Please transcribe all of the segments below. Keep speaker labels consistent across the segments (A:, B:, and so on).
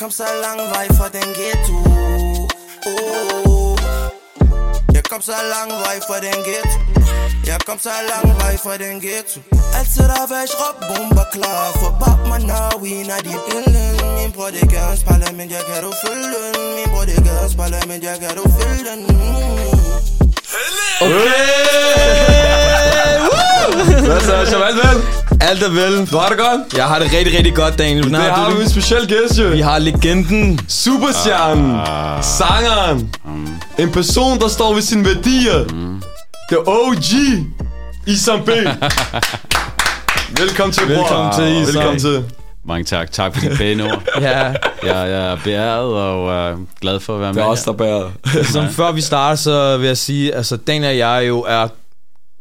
A: kom så lang vej fra den ghetto oh. Jeg kom så lang vej fra den ghetto Jeg kom så lang vej fra den ghetto Altid der væk råb bomber klar For bag mig når vi når de billen Min bror det gør en spejle, men jeg kan du følge den Min bror det gør en spejle, men jeg kan du følge den
B: Hvad så, Jamal vel?
C: Alt er vel.
B: Du har det godt?
C: Jeg har det rigtig, rigtig godt, Daniel. Hvordan
B: Det har
C: du
B: vi
C: det?
B: en speciel gæst, jo. Ah.
C: Vi har legenden.
B: Superstjernen, sangeren, en person, der står ved sine værdier. The OG, Isam B. Velkommen til, bror.
C: Velkommen til, Isam.
B: Velkommen til.
D: Mange tak. Tak for de pæne ord.
C: Ja,
D: Jeg, jeg er beæret og øh, glad for at være
B: Det
D: med.
B: er os, der bærer.
C: Altså, som før vi starter, så vil jeg sige, altså Daniel og jeg jo er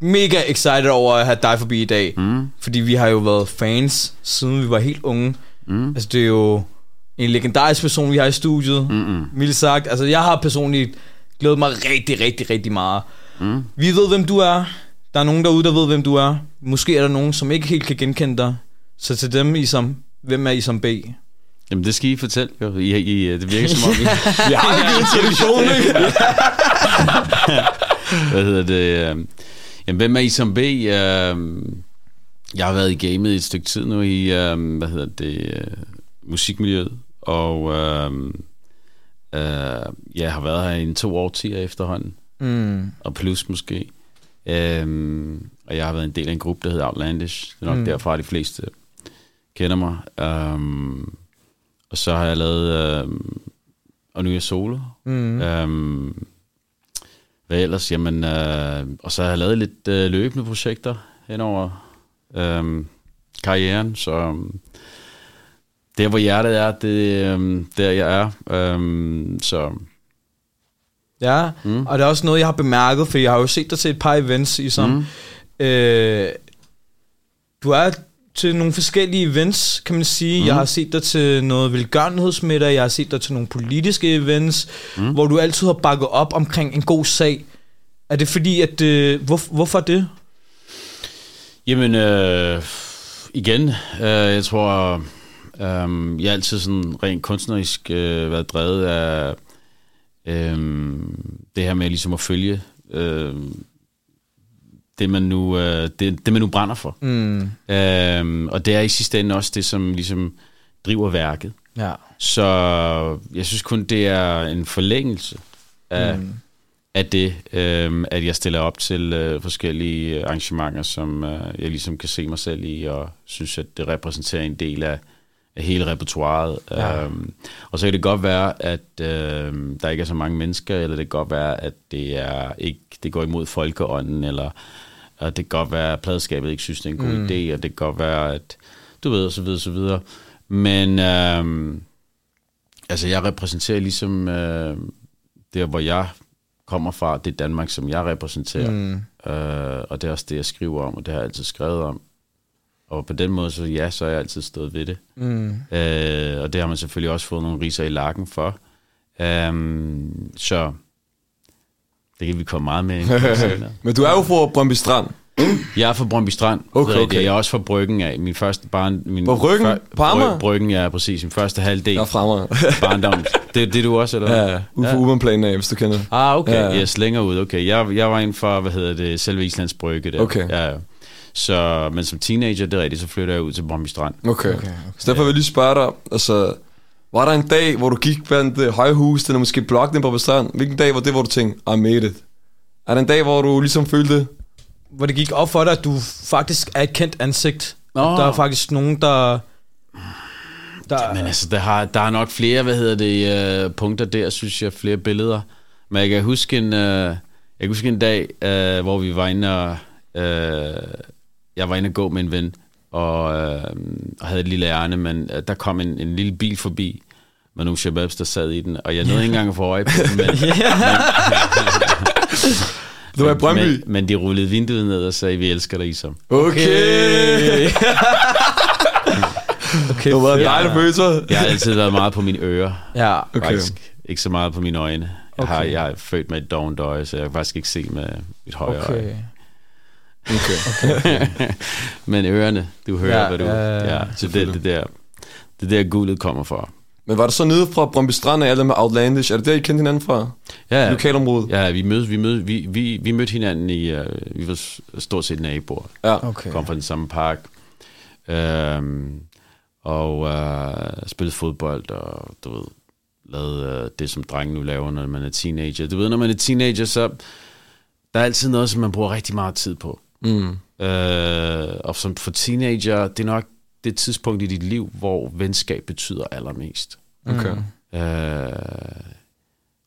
C: mega excited over at have dig forbi i dag. Mm. Fordi vi har jo været fans, siden vi var helt unge. Mm. Altså det er jo en legendarisk person, vi har i studiet. Mm-mm. Mildt sagt. Altså jeg har personligt glædet mig rigtig, rigtig, rigtig meget. Mm. Vi ved, hvem du er. Der er nogen derude, der ved, hvem du er. Måske er der nogen, som ikke helt kan genkende dig. Så til dem, I som, hvem er I som B?
D: Jamen, det skal I fortælle. Jo. I, I, øh, det virker som om, I,
B: Vi har jo en introduktion, ikke?
D: hvad hedder det? Øh, jamen, hvem er I som B? Øh, jeg har været i gamet i et stykke tid nu i, øh, hvad hedder det, øh, musikmiljøet. Og øh, øh, jeg har været her i en to årtier efterhånden.
C: Mm.
D: og plus måske. Øhm, og jeg har været en del af en gruppe, der hedder Outlandish. Det er nok mm. derfra, de fleste kender mig. Øhm, og så har jeg lavet... Øhm, og nu er jeg solo. Mm. Øhm, hvad ellers? Jamen, øh, og så har jeg lavet lidt øh, løbende projekter henover øhm, karrieren, så... øhm, Der, hvor hjertet er, det øhm, der, jeg er. Øhm, så
C: Ja, mm. og det er også noget, jeg har bemærket, for jeg har jo set dig til et par events, i som mm. øh, du er til nogle forskellige events, kan man sige. Mm. Jeg har set dig til noget velgørenhedsmiddag, jeg har set dig til nogle politiske events, mm. hvor du altid har bakket op omkring en god sag. Er det fordi, at... Øh, hvor, hvorfor det?
D: Jamen, øh, igen, øh, jeg tror, øh, jeg har altid sådan rent kunstnerisk øh, været drevet af øh, det her med ligesom at følge øh, det, man nu, øh, det, det, man nu brænder for.
C: Mm.
D: Øh, og det er i sidste ende også det, som ligesom driver værket.
C: Ja.
D: Så jeg synes kun, det er en forlængelse af, mm. af det, øhm, at jeg stiller op til øh, forskellige arrangementer, som øh, jeg ligesom kan se mig selv i, og synes, at det repræsenterer en del af, af hele repertoireet. Ja. Øhm, og så kan det godt være, at øhm, der ikke er så mange mennesker, eller det kan godt være, at det er ikke det går imod folkeånden, eller og det kan godt være, at pladskabet ikke synes, det er en god mm. idé, og det kan godt være, at du ved, og så videre, og så videre. Men øhm, altså, jeg repræsenterer ligesom øh, der, hvor jeg kommer fra, det Danmark, som jeg repræsenterer. Mm. Øh, og det er også det, jeg skriver om, og det har jeg altid skrevet om. Og på den måde, så ja, så har jeg altid stået ved det. Mm. Øh, og det har man selvfølgelig også fået nogle riser i lakken for. Øhm, så det kan vi komme meget med. ind på senere.
B: Men du er jo fra Brøndby Strand.
D: Jeg er fra Brøndby Strand.
B: Okay,
D: Det er rigtigt.
B: okay.
D: Jeg er også fra Bryggen af. Min første barn... Min
B: På Bryggen? På Amager?
D: Bryg- Bryggen, ja, præcis. Min første halvdel
B: Jeg er
D: af
B: fra Amager.
D: barndommen. Det er det, er du også, eller hvad?
B: Ja, ude på Uberplanen af, hvis du kender det.
D: Ah, okay.
B: Ja.
D: Ja. Yes, længere ud. Okay, jeg, jeg var en fra, hvad hedder det, selve Islands Brygge der.
B: Okay.
D: Ja, ja. Så, men som teenager, det er rigtigt, så flytter jeg ud til Brøndby Strand.
B: Okay. okay, okay. Så derfor vil jeg lige spørge dig, altså, var der en dag, hvor du gik blandt øh, højhusene, eller måske blokken på strand? Hvilken dag var det, hvor du tænkte, I made it? Er der en dag, hvor du ligesom følte,
C: Hvor det gik op for dig, at du faktisk er et kendt ansigt.
D: Nå.
C: Der er faktisk nogen, der... der
D: Men altså, der, har, der er nok flere, hvad hedder det, øh, punkter der, synes jeg, flere billeder. Men jeg kan huske en, øh, jeg kan huske en dag, øh, hvor vi var inde og, øh, jeg var inde og gå med en ven, og, øh, og havde et lille ærne, men øh, der kom en, en lille bil forbi, med nogle shababs, der sad i den, og jeg nåede ikke engang at få øje på den, men,
B: det var i Brøndby?
D: men, men de rullede vinduet ned og sagde, vi elsker dig, Isom.
B: Okay!
C: okay,
B: Det var en
C: fedt.
B: dejlig følelse.
D: Jeg har altid været meget på mine ører,
C: Ja.
B: Okay.
D: okay. faktisk. Ikke så meget på mine øjne. Jeg, okay. har,
C: Okay.
D: jeg er født med et dovent øje, så jeg kan faktisk ikke se med mit højre okay. øje.
C: Okay.
B: Okay.
D: Men ørerne, du hører,
C: Ja,
D: ja, hvad du...
C: ja, ja,
D: Ja,
C: ja.
D: ja, så det, det der, det der guldet kommer fra.
B: Men var det så nede fra Brøndby Strand af alle med Outlandish? Er det der, I kendte hinanden fra?
D: Ja,
B: Ja. Lokalområdet?
D: ja vi, mødte, vi, mødte, vi, vi, vi mødte hinanden i, øh, vi var s- stort set naboer.
B: Ja.
C: Okay.
D: kom fra den samme park, øhm, og øh, spillede fodbold, og du ved, lavede øh, det, som drenge nu laver, når man er teenager. Du ved, når man er teenager, så der er altid noget, som man bruger rigtig meget tid på.
B: Mm.
D: Øh, og som for teenager, det er nok det tidspunkt i dit liv, hvor venskab betyder allermest.
B: Okay. Mm.
D: Øh,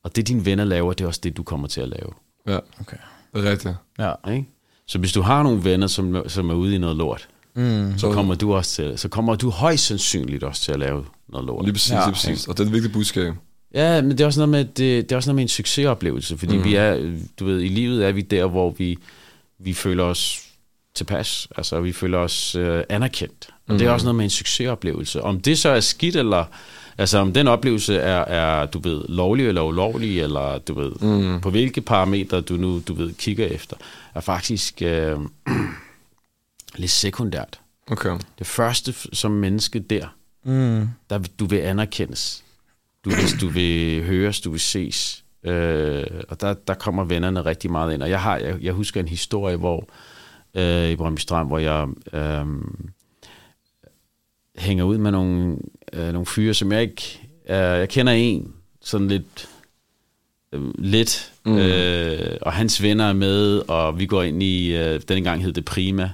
D: og det, dine venner laver, det er også det, du kommer til at lave.
B: Ja,
C: Okay.
B: det er rigtigt.
C: Ja.
D: Ikke? Så hvis du har nogle venner, som, som er ude i noget lort,
C: Mm.
D: så kommer du også til, så kommer du højst sandsynligt også til at lave noget lort.
B: Lige præcis, ja.
C: Ja.
B: lige præcis. Og det er et vigtigt budskab.
D: Ja, men det er også noget med, det, det er også noget med en succesoplevelse, fordi mm.
B: Mhm.
D: vi er, du ved, i livet er vi der, hvor vi, vi føler os tilpas, altså vi føler os øh, anerkendt. Og
B: Mhm.
D: mm. det er også noget med en succesoplevelse. Om det så er skidt, eller altså om den oplevelse er, er du ved, lovlig eller ulovlig, eller du ved,
B: Mhm.
D: mm. på hvilke parametre du nu, du ved, kigger efter, er faktisk øh, lidt sekundært.
B: Okay.
D: Det første f- som menneske der,
C: Mm.
D: der vil- du vil anerkendes. Du vil, du vil høres, du vil ses. Øh, og der, der kommer vennerne rigtig meget ind. Og jeg, har, jeg, jeg husker en historie, hvor øh, i Brøndby Strand, hvor jeg øh, hænger ud med nogle, øh, nogle fyre, som jeg ikke... Øh, jeg kender en, sådan lidt... Øh, lidt. Mm. Øh, og hans venner er med, og vi går ind i... Øh, denne gang hed det Prima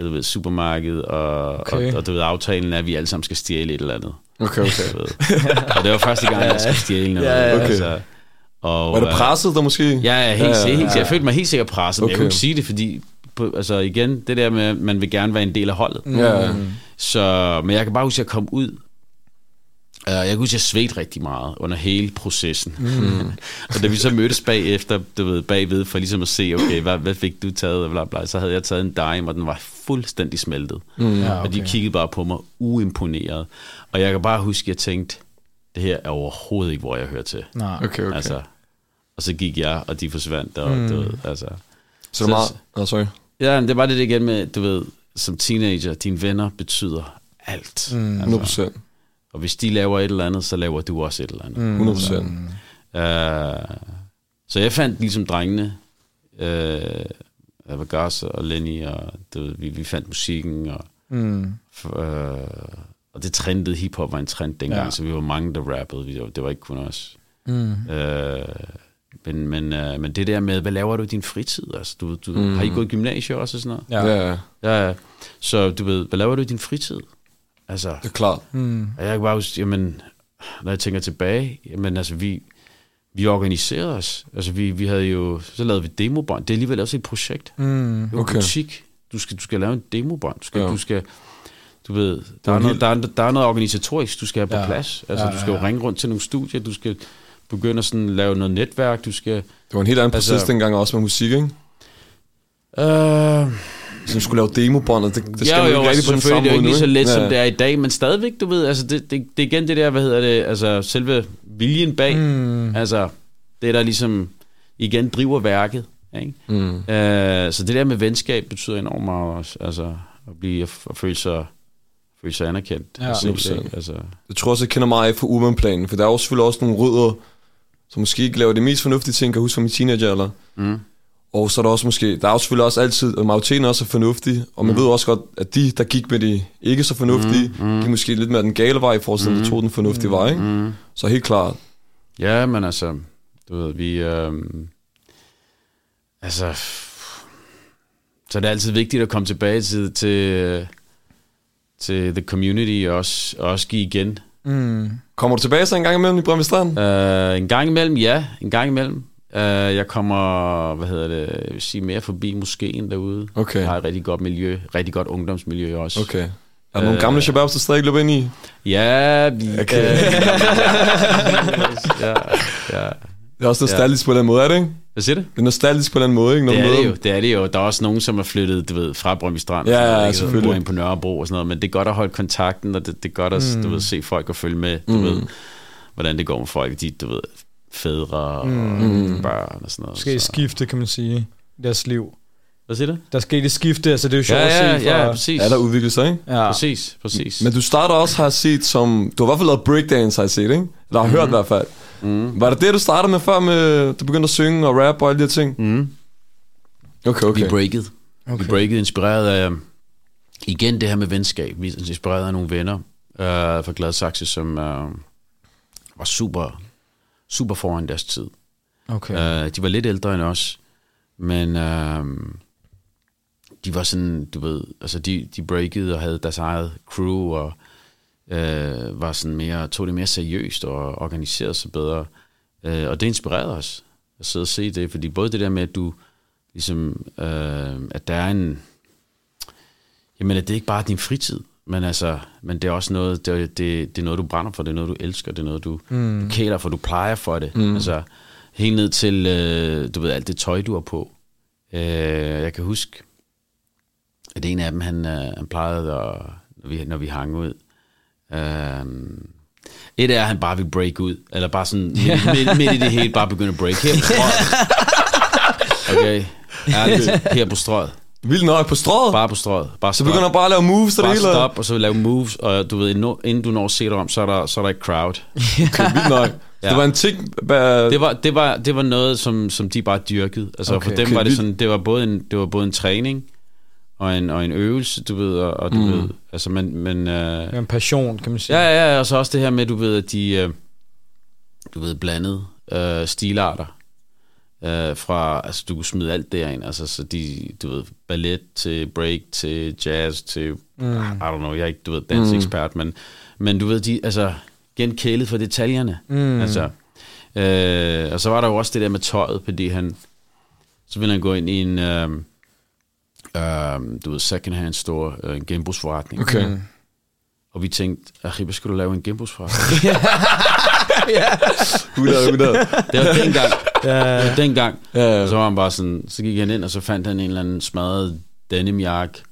D: du ved, supermarked, og, okay.
C: Okay.
D: og, og du ved, aftalen er, at vi alle sammen skal stjæle et eller andet.
B: Okay, okay.
D: Du ved. og det var første gang, jeg skulle stjæle noget.
C: Ja, ja,
B: ja.
D: altså. og,
B: Var det presset der måske?
D: Ja, ja, helt, ja, helt, jeg følte mig helt sikkert presset, okay. men jeg
B: Okay.
D: kunne ikke sige det, fordi på, altså igen, det der med, at man vil gerne være en del af holdet.
B: Ja.
D: Mm. Så, men jeg kan bare huske, at jeg kom ud, Uh, jeg kan huske, at jeg svedte rigtig meget under hele processen. Mm. og da vi så mødtes bagefter, du ved, bagved, for ligesom at se, okay, hvad, hvad fik du taget, og bla, bla, så havde jeg taget en dime, og den var fuldstændig smeltet. Mm.
C: Ja,
D: Og de
C: okay.
D: kiggede bare på mig uimponeret. Og jeg kan bare huske, at jeg tænkte, det her er overhovedet ikke, hvor jeg hører til.
C: Nej.
B: Okay, okay.
D: Altså, og så gik jeg, og de forsvandt, og mm. du ved, altså...
B: så det er meget... Nå, sorry.
D: Ja, men det var det igen med, du ved, som teenager, dine venner betyder alt. Mm.
B: 100 procent.
D: Og hvis de laver et eller andet, så laver du også et eller andet. Mm.
B: 100 procent.
D: Uh, så jeg fandt ligesom drengene, uh, Avagasa og Lenny, og du ved, vi, vi fandt musikken, og,
C: Mm.
D: uh, og det trendede, hiphop var en trend dengang, ja.
C: Ja.
D: så vi var mange, der rappede, vi, det var ikke kun os.
C: Mm.
D: Øh, men, men, øh, men det der med, hvad laver du i din fritid? Altså, du, du, mm. Har I gået i gymnasiet også og sådan noget?
C: Ja.
B: Ja, ja.
D: Ja, ja. Så du ved, hvad laver du i din fritid? Altså,
B: Det er klart.
C: Mm.
D: og jeg kan bare huske, jamen, når jeg tænker tilbage, jamen altså, vi, vi organiserede os. Altså, vi, vi havde jo, så lavede vi demobånd. Det er alligevel også et projekt.
C: Mm.
D: Det var
B: Okay.
D: okay. butik. Du skal, du skal lave en demobånd. Du skal,
B: Ja.
D: ja. du skal du ved, der
B: var
D: er,
B: helt-
D: noget, der, er, der er noget organisatorisk, du skal have på
C: Ja.
D: plads. Altså,
C: Ja,
D: du
C: ja,
D: skal jo
C: ja.
D: ringe rundt til nogle studier, du skal begynde at sådan lave noget netværk, du skal...
B: Det var en helt anden proces
D: Altså-
B: altså, dengang også med musik, ikke?
D: Øh,
B: Så du skulle lave demobånd, og det, det skal
D: ja,
B: man
D: jo,
B: ikke
D: altså,
B: rigtig på den samme
D: selvfølgelig, det er jo ikke
B: måde
D: lige så
B: nu,
D: let,
B: ikke?
D: som det er i dag, men stadigvæk, du ved, altså, det, det, det er igen det der, hvad hedder det, altså, selve viljen bag,
B: Hmm.
D: mm. altså, det der ligesom igen driver værket, ikke?
B: Mm.
D: Øh, så det der med venskab betyder enormt meget også, altså, at blive, at, at føle sig, føle sig anerkendt.
C: Ja.
D: og set,
B: 100%.
D: ikke? altså,
B: Jeg tror også, jeg kender meget af for Urban-planen, for der er jo selvfølgelig også nogle rødder, som måske ikke laver det mest fornuftige ting, kan jeg huske fra min teenager eller.
D: Mm.
B: Og så er der også måske, der er jo selvfølgelig også altid, og majoriteten også er fornuftig, og man mm. ved også godt, at de, der gik med de ikke så fornuftige, mm. gik måske lidt mere den gale vej, i forhold til, at de tog den fornuftige vej, ikke? Mm. Så helt klart,
D: Ja, men altså, du ved, vi... Øh, altså... Så det er altid vigtigt at komme tilbage til, til, til the community og også, og også give igen.
C: Mm.
B: kommer du tilbage så en gang imellem i Brøndby Strand? Ja.
D: Uh, en gang imellem, ja. En gang imellem. Uh, jeg kommer, hvad hedder det, jeg vil sige mere forbi moskeen derude.
B: Okay.
D: Jeg har et rigtig godt miljø, rigtig godt ungdomsmiljø også.
B: Okay. Er der nogle gamle shababs, der stadig løber ind i?
D: Ja, vi... Okay. ja, ja.
B: Det er også nostalgisk ja. på den måde, er det ikke?
D: Hvad siger det?
B: Det er nostalgisk på den måde, ikke? Når
D: Det er
B: man møder
D: det,
B: dem.
D: jo, det er det jo. Der er også nogen, som er flyttet du ved, fra Brøndby Strand.
B: Ja,
D: og sådan
B: ja,
D: noget, ikke?
B: selvfølgelig.
D: Bor inde på Nørrebro og sådan noget. Men det er godt at holde kontakten, og det, det er godt at mm. du ved, se folk og følge med. Du mm. ved, hvordan det går med folk. De, du ved, fædre og mm. børn og sådan noget.
C: Måske skifte, kan man sige, i deres liv.
D: Hvad siger du?
C: Der skete et skifte, så det er jo sjovt
D: Ja, ja,
C: at se. fra-
D: ja, præcis.
B: Ja, der udvikler sig, ikke?
C: ja.
D: Præcis, præcis.
B: Men du starter også har set som... Du har i hvert fald lavet breakdance, har jeg set, ikke? Eller har mm-hmm. hørt i hvert fald. Mm. Var det det, du startede med før, med, du begyndte at synge og rap og alle de her ting? Mm. Okay, okay.
D: Vi breakede. Okay. Vi breakede inspireret af, igen det her med venskab, vi er inspireret af nogle venner øh, fra Gladsaxe, som øh, var super, super foran deres tid.
C: Okay.
D: Øh, de var lidt ældre end os, men øh, de var sådan, du ved, altså de, de breakede og havde deres eget crew, og øh, var sådan mere, tog det mere seriøst og organiserede sig bedre. Øh, og det inspirerede os at sidde og se det, fordi både det der med, at du ligesom, øh, at der er en, jamen at det ikke bare er din fritid, men altså, men det er også noget, det, er- det, det er noget, du brænder for, det er noget, du elsker, det er noget, du, mm. du kæler for, du plejer for det. Mm. Altså, helt ned til, øh, du ved, alt det tøj, du har på. Øh, jeg kan huske, at en af dem, han, øh, han plejede, at, når, vi, når vi hang ud, Øhm, et er, at han bare vil break ud, eller bare sådan midt, midt, midt i det hele, bare begynde at break her på strøget. Okay, ærligt, her på strøget.
B: Vildt nok på strået.
D: Bare på strøget. Bare
B: Så begynder du bare at lave moves og det
D: bare
B: hele.
D: stop, og så lave moves, og du ved, inden- inden du når at se dig om, så er der, så er der et crowd.
B: Vildt nok. Så
D: Ja.
B: det var en ting... ba-
D: Det var, det var, det var noget, som, som de bare dyrkede. Altså okay. for
C: Okay.
D: dem var
B: Okay,
D: det
B: vildt.
D: sådan, det var både en, det var både en træning, og en, og en øvelse, du ved, og, og du mm. ved, altså man, man, øh,
C: Det er en passion, kan man sige.
D: Ja, ja, ja, og så også det her med, du ved, at de, øh, du ved, blandede øh, stilarter øh, fra, altså du kunne smide alt derind, altså så de, du ved, ballet til break til jazz til, mm. I don't know, jeg er ikke, du ved, dansekspert, mm. men, men du ved, de, altså, genkælet for detaljerne, mm. altså, øh, og så var der jo også det der med tøjet, fordi han, så ville han gå ind i en, øh, øh, du ved, second-hand store, øh, en genbrugsforretning.
B: Okay.
D: Og vi tænkte, Arriba, skulle du lave en genbrugsforretning?
B: 100, 100.
D: Det var dengang. ja. Det var dengang.
B: Ja.
D: Og så var han bare sådan, så gik han ind, og så fandt han en eller anden smadret denimjakke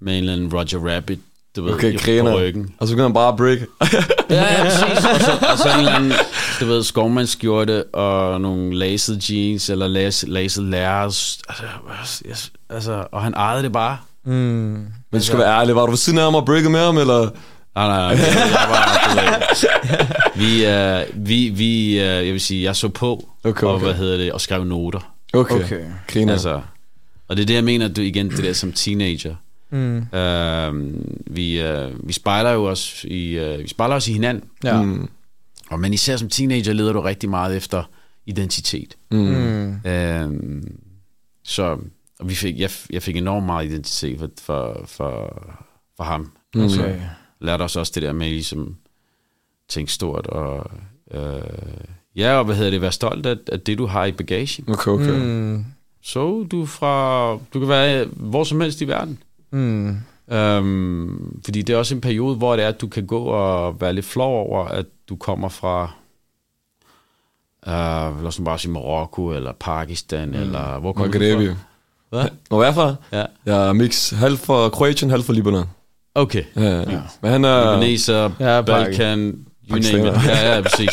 D: med en eller anden Roger Rabbit, du ved,
B: Okay,
D: i-
B: griner.
D: på ryggen.
B: Og så begynder han bare at break.
D: Ja, ja, præcis. Og så, og så en eller anden, du ved, skovmandsskjorte og nogle laced jeans eller lace- laced lærers. Altså, jeg- altså, og han ejede det bare.
C: Mm.
B: Men du skal være ærlig, var du ved siden af ham og breakede med ham, eller?
D: Nej, nej, nej. Jeg var, du ved. vi, øh, vi, vi øh, jeg vil sige, jeg så på,
B: Okay,
D: og
B: okay.
D: hvad hedder det, og skrev noter.
B: Okay.
C: Okay.
B: Griner. Altså,
D: Altså, og det er det, jeg mener, du igen, det der som teenager.
C: Mm.
D: Øhm, vi, øh, vi spejler jo os i, øh, vi spejler os i hinanden.
C: Ja.
B: mm,
D: Og men især som teenager leder du rigtig meget efter identitet.
B: mm,
C: Mm.
D: Øhm, så og vi fik, jeg, jeg fik enormt meget identitet for, for, for, for ham.
B: mm. Okay.
C: Okay.
D: Lærte os også det der med ligesom tænke stort og øh, ja, og hvad hedder det, være stolt af, af det, du har i bagagen.
B: Okay, okay. Mm.
C: Mm.
D: Så du er fra, du kan være hvor som helst i verden.
C: Mm.
D: Øhm, fordi det er også en periode, hvor det er, at du kan gå og være lidt flov over, at du kommer fra, øh, lad os nu bare sige Marokko, eller Pakistan, mm. eller hvor kommer
B: Magrebi.
D: du fra? Hvad?
B: Og hvad for?
D: Ja.
B: Jeg er mix halv for Kroatien, halv for Libanon.
D: Okay.
B: Ja, ja. Men han er...
D: Libaneser,
C: Ja,
D: ja,
C: Pakistan.
D: Balkan, you name
B: Pakistaner.
D: it. Ja, ja, præcis.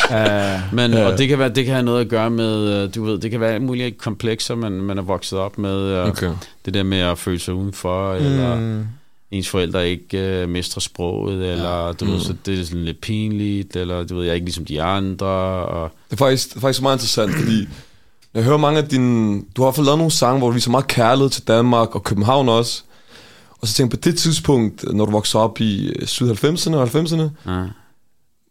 C: Uh,
D: Men,
B: Ja.
D: og det kan, være, det kan have noget at gøre med, øh, du ved, det kan være alle mulige komplekser, man, man er vokset op med. øh,
B: Okay.
D: Det der med at føle sig udenfor, mm. eller
C: mm.
D: ens forældre ikke øh, mestrer sproget, eller ja. du mm. ved, så det er sådan lidt pinligt, eller du ved, jeg er ikke ligesom de andre, og
B: Det er faktisk, det er faktisk meget interessant, fordi jeg hører mange af dine... Du har i hvert fald lavet nogle sange, hvor du viser meget kærlighed til Danmark og København også. Og så tænker jeg på det tidspunkt, når du voksede op i øh, syd 90'erne og 90'erne,
D: ja.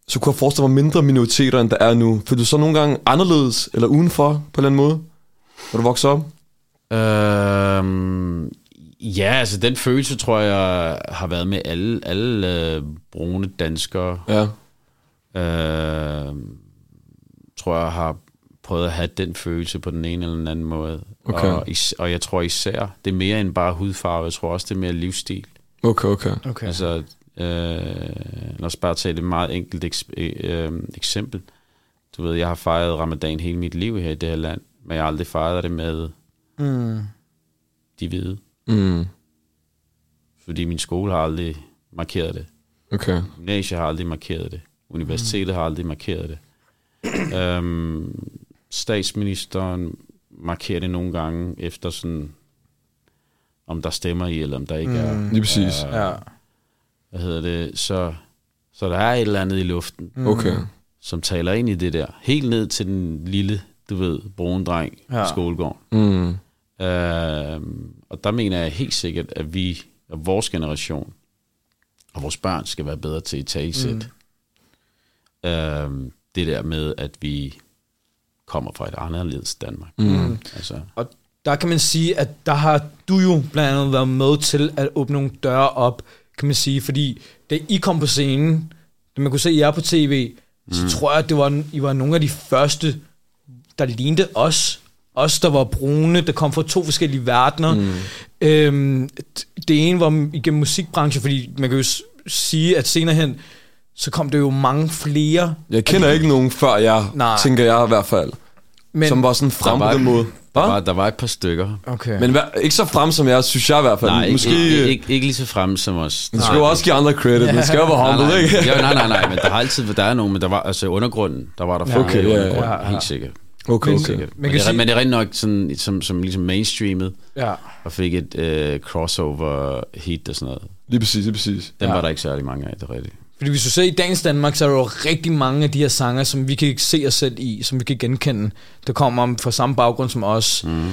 B: så kunne jeg forestille mig mindre minoriteter, end der er nu. Følte du så nogle gange anderledes eller udenfor på en eller anden måde, når du voksede op?
D: Øhm, ja, altså den følelse, tror jeg, har været med alle, alle øh, brune danskere,
B: Ja.
D: øh, tror jeg har prøvet at have den følelse på den ene eller den anden måde.
B: Okay.
D: Og, is- og jeg tror især, det er mere end bare hudfarve, jeg tror også, det er mere livsstil.
B: Okay, okay.
C: Okay. Altså,
D: Altså, øh, lad os bare tage et meget enkelt eks- øh, øh, eksempel. Du ved, jeg har fejret ramadan hele mit liv her i det her land, men jeg har aldrig fejret det med
C: mm.
D: de hvide,
B: Mm,
D: fordi min skole har aldrig markeret det.
B: okay.
D: Gymnasiet har aldrig markeret det. Universitetet har aldrig markeret det. øhm, statsministeren markerer det nogle gange efter sådan om der stemmer i, eller om der ikke mm. er.
B: Lige præcis.
C: Ja.
D: Hvad hedder det? Så, så der er et eller andet i luften, mm.
B: Okay.
D: som taler ind i det der. Helt ned til den lille, du ved, brune dreng ja.
C: Ja.
D: i skolegården.
B: Mm.
D: Øh, og der mener jeg helt sikkert, at vi, at vores generation og vores børn skal være bedre til at talesætte mm. øh, det der med, at vi kommer fra et anderledes Danmark. Mm. Altså,
C: Og der kan man sige, at der har du jo blandt andet været med til at åbne nogle døre op, kan man sige, fordi da I kom på scenen, da man kunne se jer på tv,
B: Mm.
C: så tror jeg, at det var, I var nogle af de første, der lignede os. Os, der var brune, der kom fra to forskellige verdener. Mm. Øhm, d- det ene var igennem musikbranchen, fordi man kan jo s- sige, at senere hen, så kom der jo mange flere.
B: Jeg kender ikke nogen før jeg,
C: Nej.
B: tænker jeg i hvert fald,
C: Men,
B: som var sådan frem
D: Der var-
B: på den måde. Hva?
D: der, var, der var et par stykker.
C: okay.
B: Men hva- ikke så frem som jeg, synes jeg i hvert fald.
D: Nej,
B: Måske,
D: ikke, ikke, ikke, ikke lige så fremme som os.
B: Man skal jo også give andre credit. Man skal jo være
D: Nej,
B: humble,
D: nej,
B: ikke?
D: jo, nej, nej, nej, men der har altid der er nogen, men der var altså undergrunden, der var der flere
B: Okay,
D: okay,
B: ja, ja,
D: undergrunden, ja,
C: ja,
D: ja.
C: ja.
D: helt sikkert.
B: Okay, okay.
D: sikkert. Men,
C: kan
D: det, er-
C: sige-
D: men det er rent nok sådan, som, som ligesom mainstreamet,
C: Ja.
D: og fik et øh, crossover hit og sådan noget.
B: Lige præcis, lige præcis.
D: Den ja. var der ikke særlig mange af, det er rigtigt.
C: Fordi hvis du ser i dagens Danmark, så er der jo rigtig mange af de her sanger, som vi kan ikke se os selv i, som vi kan genkende, der kommer om fra samme baggrund som os. Mm.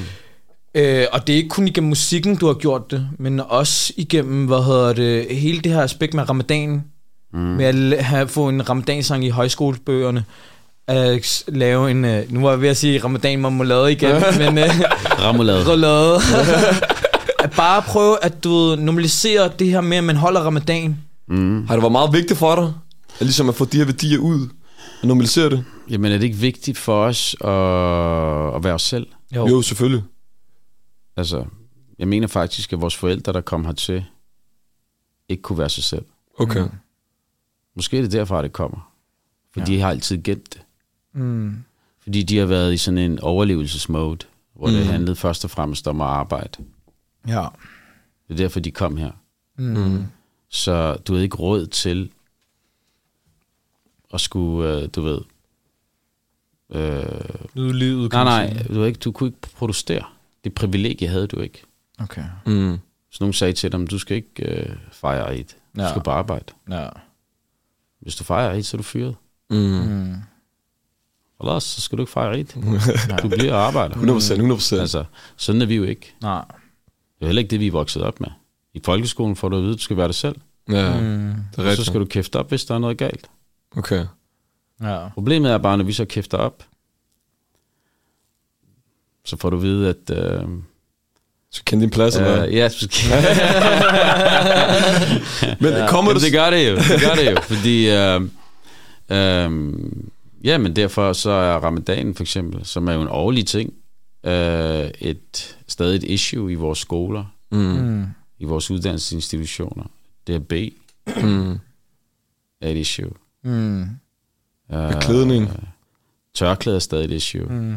C: Øh, og det er ikke kun igennem musikken, du har gjort det, men også igennem, hvad hedder det, hele det her aspekt med ramadan, mm. med at la- have, få en ramadansang i højskolebøgerne, at s- lave en, øh, nu var jeg ved at sige ramadan marmelade igen, men øh,
D: Ramulade.
C: roulade. at bare prøve at du ved, normalisere det her med, at man holder ramadan,
B: Har det været meget vigtigt for dig, at, ligesom at få de her værdier ud og normalisere det?
D: Jamen er det ikke vigtigt for os at, at være os selv?
B: Jo, jo selvfølgelig.
D: Altså, jeg mener faktisk, at vores forældre, der kom hertil, ikke kunne være sig selv.
B: Okay.
D: Måske er det derfra, det kommer. For ja. de har altid gemt det. Mm. Fordi de har været i sådan en overlevelsesmode, hvor mm. det handlede først og fremmest om at arbejde.
C: Ja.
D: Det er derfor, de kom her.
B: Mm.
D: Så du havde ikke råd til at skulle, øh, du ved... Øh,
C: Nyde livet,
D: nej,
C: man
D: nej,
C: sige.
D: du, havde ikke, du kunne ikke producere. Det privilegie havde du ikke.
C: Okay.
B: Mm.
D: Så nogen sagde til dem, du skal ikke øh, fejre et. Du
C: Ja.
D: skal bare arbejde.
C: Ja.
D: Hvis du fejrer et, så er du fyret.
B: Mm.
D: Og ellers, så skal du ikke fejre et. Du bliver og arbejder.
B: 100%, 100%.
D: Altså, sådan er vi jo ikke.
C: Nej.
D: Det er heller ikke det, vi er vokset op med. I folkeskolen får du at vide, at du skal være dig selv.
B: Ja, det er
D: Og så
B: rigtigt.
D: skal du kæfte op, hvis der er noget galt.
B: Okay.
C: Ja.
D: Problemet er bare, når vi så kæfter op, så får du at vide, at... Øh,
B: Så kend din plads, eller Altså, hvad?
D: øh, ja, så
B: Men kommer
D: Jamen,
B: det...
D: det gør det jo. Det gør det jo, fordi... Øh, øh, ja, men derfor så er ramadanen for eksempel, som er jo en årlig ting, øh, et, stadig et issue i vores skoler,
C: Mm.
D: i vores uddannelsesinstitutioner. Det er B,
B: Mm.
D: er et issue.
C: Mm.
D: Øh,
B: Klædning,
D: tørklæde er stadig et issue.
C: Mm.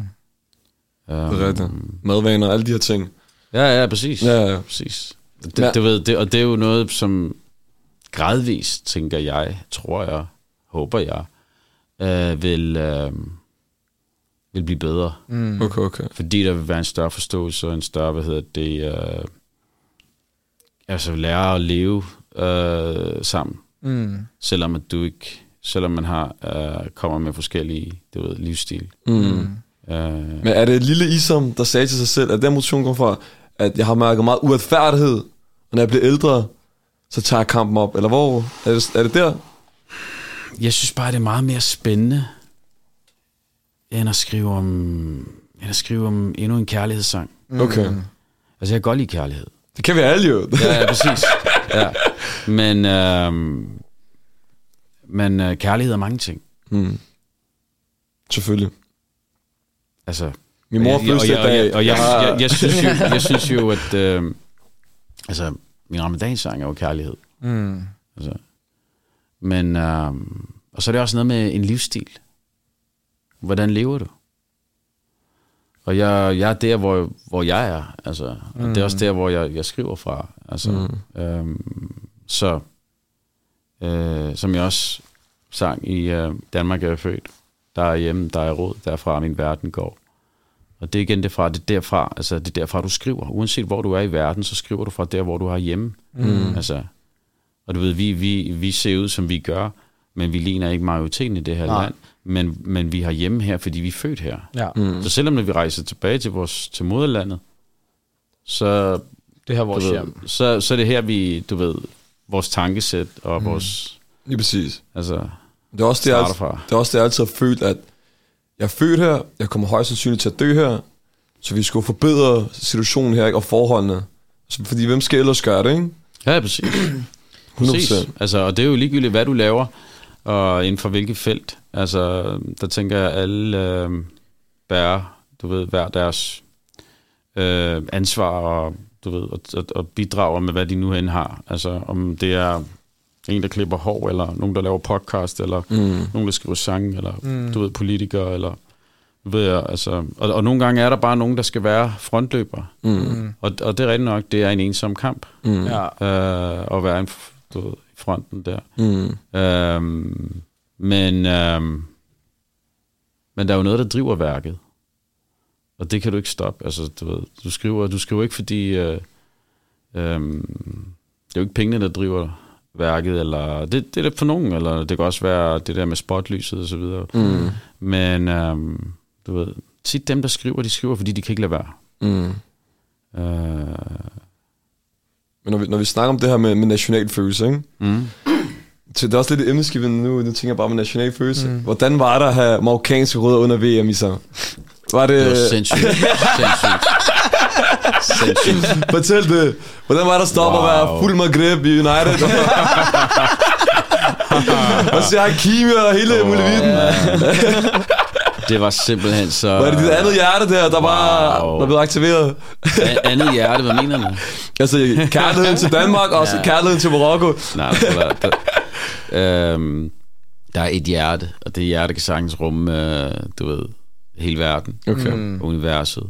B: det er rigtigt. Madvaner, alle de her ting.
D: Ja, ja, præcis.
B: Ja, ja.
D: Præcis. Det,
B: Ja.
D: ja. Du ved, det, og det er jo noget, som gradvist, tænker jeg, tror jeg, håber jeg, øh, vil, øh, vil blive bedre. Mm.
B: Okay, okay.
D: Fordi der vil være en større forståelse og en større, hvad hedder det, øh, altså lære at leve øh, sammen.
C: Mm.
D: Selvom at du ikke, selvom man har, øh, kommer med forskellige, du ved, livsstil.
B: Mm.
D: Øh,
B: Men er det lille Isam, der sagde til sig selv, at den motion kom fra, at jeg har mærket meget uretfærdighed, og når jeg bliver ældre, så tager jeg kampen op? Eller hvor? Er det, er det der?
D: Jeg synes bare, det er meget mere spændende, end at skrive om, end at skrive om endnu en kærlighedssang.
B: Okay.
D: Altså, jeg kan godt lide kærlighed.
B: Det kan vi alle jo.
D: Ja, ja præcis. Ja. Men, øhm, men øh, kærlighed er mange ting.
B: Mm. Selvfølgelig.
D: Altså,
B: Min mor har
D: og jeg- og jeg-
B: fødselsdag
D: og jeg- Og
B: i dag.
D: jeg,
B: har-
D: jeg, jeg, synes jo, jeg synes jo, at øh, altså, min ramadansang er jo kærlighed.
C: Mm.
D: Altså. Men, øh, og så er det også noget med en livsstil. Hvordan lever du? Og jeg, jeg er der, hvor, hvor jeg er. Altså, mm. Det er også der, hvor jeg, jeg skriver fra. Altså, mm. øhm, så, øh, som jeg også sang i øh, Danmark er jeg født. Der er hjemme, der er råd, derfra min verden går. Og det er igen det fra, det er derfra, altså det er derfra, du skriver. Uanset hvor du er i verden, så skriver du fra der, hvor du har hjemme. Mm. Altså, og du ved, vi, vi, vi ser ud, som vi gør, men vi ligner ikke majoriteten i det her Nej. land. Men, men vi har hjemme her, fordi vi er født her.
C: Ja.
D: Mm. Så selvom når vi rejser tilbage til, vores, til moderlandet, så,
C: Det her er
D: du
C: vores
D: ved,
C: hjem.
D: så, så er det her, vi, du ved, vores tankesæt og mm. vores,
B: Lige præcis.
D: altså,
B: Det er også det,
D: Starter
B: jeg, altid-
D: fra.
B: det er også det, jeg altid har følt, at jeg er født her, jeg kommer højst sandsynligt til at dø her, så vi skulle forbedre situationen her, ikke? og forholdene. Så, fordi hvem skal ellers gøre det, ikke?
D: Ja, præcis.
B: 100%.
D: præcis. Altså, og det er jo ligegyldigt, hvad du laver, og inden for hvilket felt. Altså, der tænker jeg, at alle øh, bærer, du ved, hver deres øh, ansvar og, du ved, og, og, og bidrager med, hvad de nu end har. Altså, om det er en, der klipper hår, eller nogen, der laver podcast, eller mm. nogen, der skriver sange, eller mm. du ved, politikere, eller ved jeg, altså, og, og nogle gange er der bare nogen, der skal være frontløber. Mm. Og, og det er rigtigt nok, det er en ensom kamp
B: Mm.
C: Ja.
D: øh, at være en, f- du ved, i fronten der.
B: Mm.
D: Øhm, men, øhm, men der er jo noget, der driver værket. Og det kan du ikke stoppe. Altså, du, ved, du, skriver, du skriver ikke, fordi... Øh, øhm, det er jo ikke pengene, der driver værket, eller det, det er det for nogen, eller det kan også være det der med spotlyset og så videre. Mm. Men øhm, du ved, tit dem, der skriver, de skriver, fordi de kan ikke lade være.
B: Mm.
D: Øh,
B: Men når vi, når vi snakker om det her med, med nationalfølelse, ikke?
D: Mm.
B: Så det er også lidt emneskiven nu, nu tænker jeg bare med nationalfølelse. Mm. Hvordan var der at have marokkanske rødder under VM i sig? Var det...
D: det var sindssygt. sindssygt. sindssygt.
B: Fortæl det. Hvordan var det at stoppe wow. at være
D: Wow.
B: fuld Maghreb i United? og så Hakimi og hele oh, muligheden.
D: Det var simpelthen så...
B: Var det dit andet hjerte der, der bare
D: Wow.
B: der blev aktiveret?
D: An- andet hjerte? Hvad mener du?
B: Altså kærligheden til Danmark og også kærligheden til Marokko.
D: Nej, det var, der, øhm, der er et hjerte, og det hjerte kan sagtens rumme, øh, du ved, hele verden,
B: Okay.
D: mm. universet.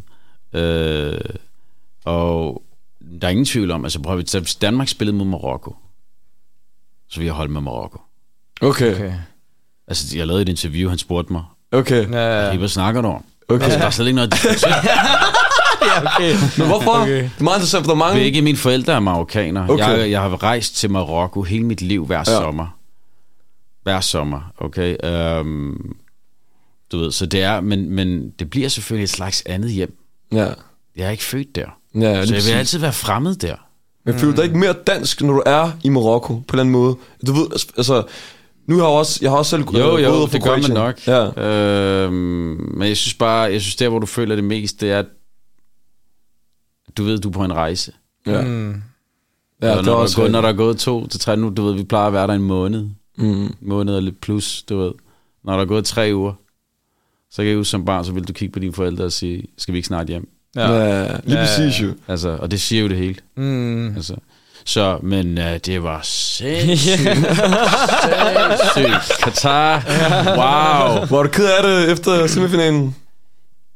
D: Øh, og der er ingen tvivl om, altså prøv at hvis- hvis Danmark spillede mod Marokko, så ville jeg holde med Marokko.
B: Okay.
C: Okay.
D: Altså, jeg lavede et interview, han spurgte mig,
B: Okay.
C: Ja,
D: "Hey,
C: ja.
D: hvad snakker du om?
B: Okay.
D: Altså, der er slet ikke noget at diskutere.
B: Men hvorfor?
C: Okay.
B: Det er meget interessant, for der er mange...
D: Begge mine forældre er marokkanere.
B: Øhm. Okay.
D: Okay. Jeg, jeg har rejst til Marokko hele mit liv hver ja. sommer. Hver sommer, okay? Um, du ved, så det er, men, men det bliver selvfølgelig et slags andet hjem.
B: Ja.
D: Jeg er ikke født der.
B: Ja, lige
D: så jeg
B: præcis.
D: vil altid være fremmed der.
B: Men føler du
D: Mm.
B: dig ikke mere dansk, når du er i Marokko, på en eller anden måde? Du ved, altså... Nu har jeg også, jeg har også selv
D: Jo,
B: øh,
D: jo,
B: rødder fra
D: det gør man
B: Kroatien.
D: nok.
B: Ja.
D: Øhm, men jeg synes bare, jeg synes der, hvor du føler det mest, det er, at du ved, du er på en rejse.
B: Ja,
C: Mm.
B: ja
D: Ja, og
B: det er
D: når,
B: også
D: der er gået, når
B: rigtigt.
D: der er gået to til tre nu, du ved, vi plejer at være der en måned.
B: Mm.
D: måneder lidt plus, du ved. Når der er gået tre uger, så kan jeg huske som barn, så vil du kigge på dine forældre og sige, skal vi ikke snart hjem?
B: Ja. ja, lige
C: Ja.
B: præcis jo.
D: Altså, og det siger jo det hele.
C: Mm.
D: Altså. Så, men uh, det var sindssygt. sindssygt. Katar. Wow.
B: Var du ked af det efter semifinalen?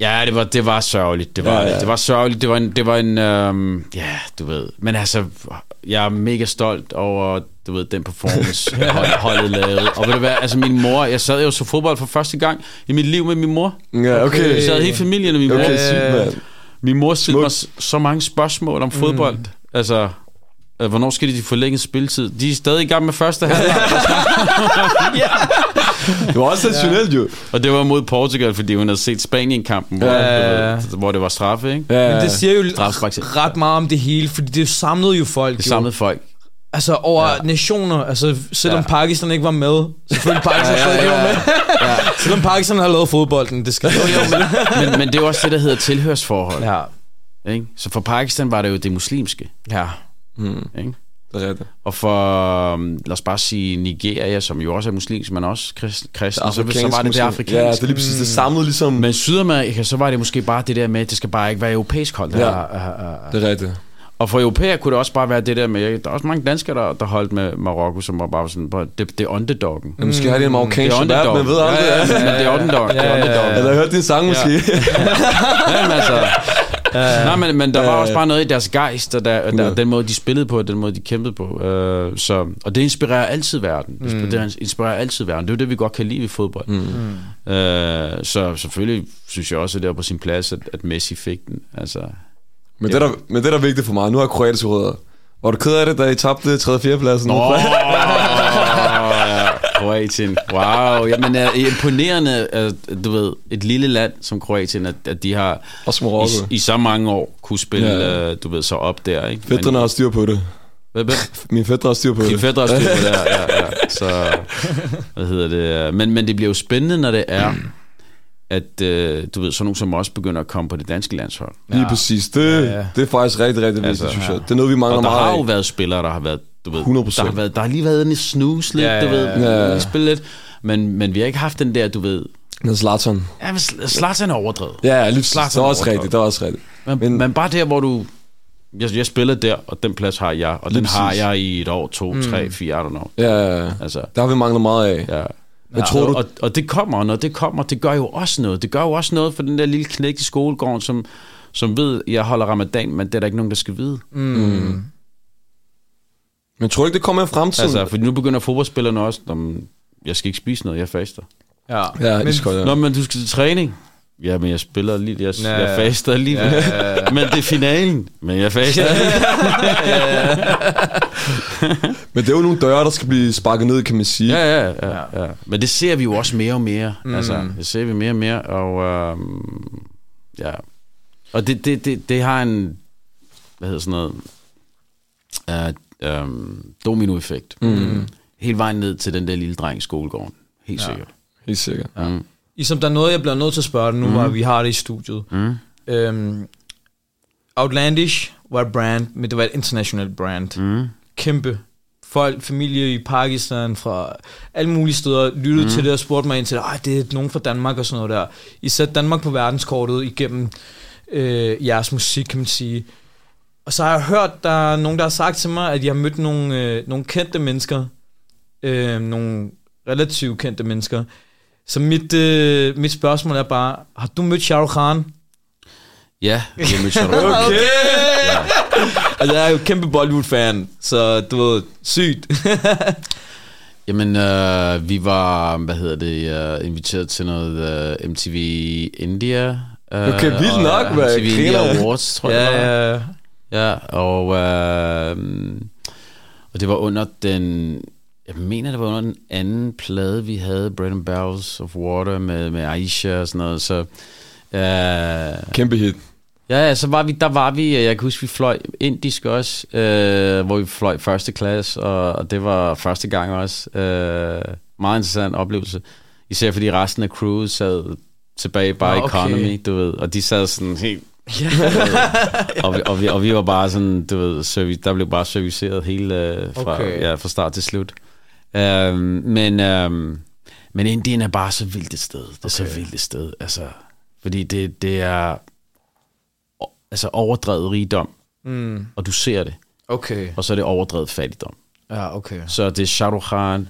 D: Ja, det var, det var sørgeligt. Det var,
B: Ja,
D: ja,
B: ja.
D: ja. det var sørgeligt. Det var en, det var en øhm, ja, du ved. Men altså, jeg er mega stolt over, du ved, den performance, hold, holdet lavede. Og ved du hvad, altså min mor, jeg sad jo så fodbold for første gang i mit liv med min mor.
B: Ja, okay.
D: Vi sad hele familien, og min mor,
B: Okay,
D: okay.
B: sygt, mand.
D: min mor stillede mig s- så mange spørgsmål om fodbold. Mm. Altså, øh, hvornår skal de forlænge spilletid? De er stadig i gang med første halvleg,
B: Det var også sensationelt jo.
D: og det var mod Portugal, fordi hun havde set Spanien-kampen, hvor,
C: Ja.
D: du ved, hvor det var straffe, ikke?
B: Ja.
C: Men det siger jo
D: Strafspark.
C: ret meget om det hele, fordi det samlede jo folk.
D: Det
C: jo.
D: samlede folk.
C: Altså over ja. nationer, altså selvom ja.
D: Ja.
C: Pakistan ikke var med, selvfølgelig Pakistan ja, ja, ja, ja. ikke var med, ja. selvom Pakistan har lavet fodbolden, det skal jo, jo, men,
D: Men, men det er jo også det, der hedder tilhørsforhold.
C: ja.
D: Ikke? Så for Pakistan var det jo det muslimske.
C: ja.
D: Ikke?
B: Det er rigtigt.
D: Og for, øhm, lad os bare sige, Nigeria, som jo også er muslimsk, men også kristen, kristen så, så var det det
B: musik. Ja, det
D: afrikanske. Mm.
B: er lige præcis. Det samlede ligesom...
D: Men Sydamerika, så var det måske bare det der med, at det skal bare ikke være europæisk hold.
B: Ja.
D: Ja.
B: Det er rigtigt.
D: Og for europæer kunne det også bare være det der med, der er også mange danskere, der, der holdt med Marokko, som var bare sådan, "Bro, det, det er underdoggen.
B: Men måske har de en marokkansk
D: Det er
B: shabab, men
D: underdoggen.
B: ved aldrig det.
D: Men det er underdog. Det er
C: ja, ja.
D: underdoggen.
B: Eller har hørt din sang måske.
D: Jamen altså,
C: ja.
D: Nej, men, men der var
B: Øh.
D: også bare noget i deres gejst, og, der, og der,
B: Hundrede.
D: den måde, de spillede på, og den måde, de kæmpede på. Øh, så, og det inspirerer altid verden. Mm. Det inspirerer altid verden. Det er jo det, vi godt kan lide ved fodbold. Mm. Øh, så selvfølgelig synes jeg også, at det var på sin plads, at, at Messi fik den. Altså,
B: Men, det, der, men det, der er vigtigt for mig, nu er jeg kroatisk rødder. Var du ked af det, da I tabte 3. og 4. pladsen?
D: Åh, ja. Kroatien. Wow. Jamen, er imponerende, at, du ved, et lille land som Kroatien, at, at de har
B: Også Marokko.
D: i, i så mange år kunne spille,
B: Ja.
D: ja. du ved, så op der. Ikke?
B: Fætterne har styr på det.
D: Hvad- hvad?
B: Min fætter har styr på
D: Din
B: det.
D: fætter er også typer der, ja, ja. Så, hvad hedder det? Men, men det bliver jo spændende, når det er, at øh, du ved, sådan nogen som os begynder at komme på det danske landshold.
B: Lige præcis. Det,
C: ja.
B: det er faktisk rigtig, rigtig vigtigt,
D: Altså,
B: synes
D: ja.
B: jeg. Det er noget, vi
D: Og
B: mangler
D: der har jo
B: meget af.
D: været spillere, der har været, du ved,
B: 100%.
D: Der, har været, der har lige været en snus lidt,
C: Ja,
D: du ved,
C: ja,
B: ja.
D: ja, ja. spille lidt, men, men vi har ikke haft den der, du ved,
B: Men Zlatan.
D: ja, men Sl- Zlatan er overdrevet.
B: Ja, lige præcis.
D: Zlatan
B: Det er også
D: overtrådt.
B: rigtigt, det er også rigtigt.
D: Men,
B: Men-
D: men, men bare der, hvor du... Jeg, jeg spiller der, og den plads har jeg, og den
B: Lige
D: har
B: præcis.
D: jeg i et år, to, mm. tre, fire, I don't know.
B: Ja, ja, ja.
D: Altså,
B: der har vi manglet meget af.
D: ja.
B: Men tror du,
D: og, og det kommer, og når det kommer, det gør jo også noget. Det gør jo også noget for den der lille knægt i skolegården, som, som ved, jeg holder ramadan, men det er der ikke nogen, der skal vide. Mm.
B: men tror du ikke, det kommer i fremtiden?
D: Altså, for nu begynder fodboldspillerne også, om jeg skal ikke spise noget, jeg faster.
C: Ja.
B: ja,
C: Men-
B: iskold, ja.
D: Nå, men du skal til træning. Ja, men jeg spiller lige, jeg,
C: Ja,
D: ja, jeg
C: ja.
D: faster lige. Ja, ja, ja. men det er finalen. Men jeg faster.
B: Men det er jo nogle døre, der skal blive sparket ned, kan man sige.
D: Ja, ja, ja, ja. Men det ser vi jo også mere og mere. Mm. Altså, det ser vi mere og mere, og øhm, ja. Og det, det, det, det har en, hvad hedder sådan noget, øh, øhm, dominoeffekt. Mm. Hele vejen ned til den der lille dreng i skolegården. Helt ja. sikkert.
B: Helt sikkert.
D: Ja. Mm.
C: Ligesom der er noget, jeg bliver nødt til at spørge dig nu, mm. hvor vi har det i studiet. Mm. Øhm, Outlandish var et brand, men det var et internationalt brand. Mm. Kæmpe. Folk, familie i Pakistan, fra alle mulige steder, lyttede mm. til det og spurgte mig ind til, at det er nogen fra Danmark og sådan noget der. I satte Danmark på verdenskortet igennem øh, jeres musik, kan man sige. Og så har jeg hørt, der er nogen, der har sagt til mig, at jeg har mødt nogle, øh, nogle kendte mennesker, øh, nogle relativt kendte mennesker. Så mit, øh, mit spørgsmål er bare, har du mødt Shahrukh Khan?
D: Ja, jeg mødte Shahrukh.
C: Okay! Ja. altså, jeg er jo kæmpe Bollywood-fan, så du ved, sygt.
D: Jamen, øh, vi var, hvad hedder det, øh, inviteret til noget øh, MTV India. Øh,
B: Okay, vildt
D: og,
B: nok,
D: øh,
B: hvad?
D: MTV India
B: Griner.
D: Awards, tror jeg. det var.
C: ja, ja.
D: Ja, og, øh, og det var under den, jeg mener, det var under den anden plade, vi havde, Bread and Barrels of Water med, med Aisha og sådan noget, så... Øh,
B: Kæmpe hit.
D: ja, ja, så var vi, der var vi, og jeg kan huske, vi fløj indisk også, øh, hvor vi fløj første klasse, og, og det var første gang også. Øh, meget interessant oplevelse. Især fordi resten af crewet sad tilbage bare i
C: Nå, okay.
D: economy, du ved, og de sad sådan helt og, vi, og, vi, og vi var bare sådan, du ved, service, der blev bare serviceret hele øh, fra,
C: Okay.
D: okay. ja, fra start til slut. Øhm, men, øhm, men Indien er bare så vildt et sted. Det er okay. så vildt et sted. Altså, fordi det, det er o- altså overdrevet rigdom,
C: Mm,
D: og du ser det.
C: okay.
D: Og så er det overdrevet fattigdom.
C: Ja, okay.
D: Så er det Shahrukh Khan,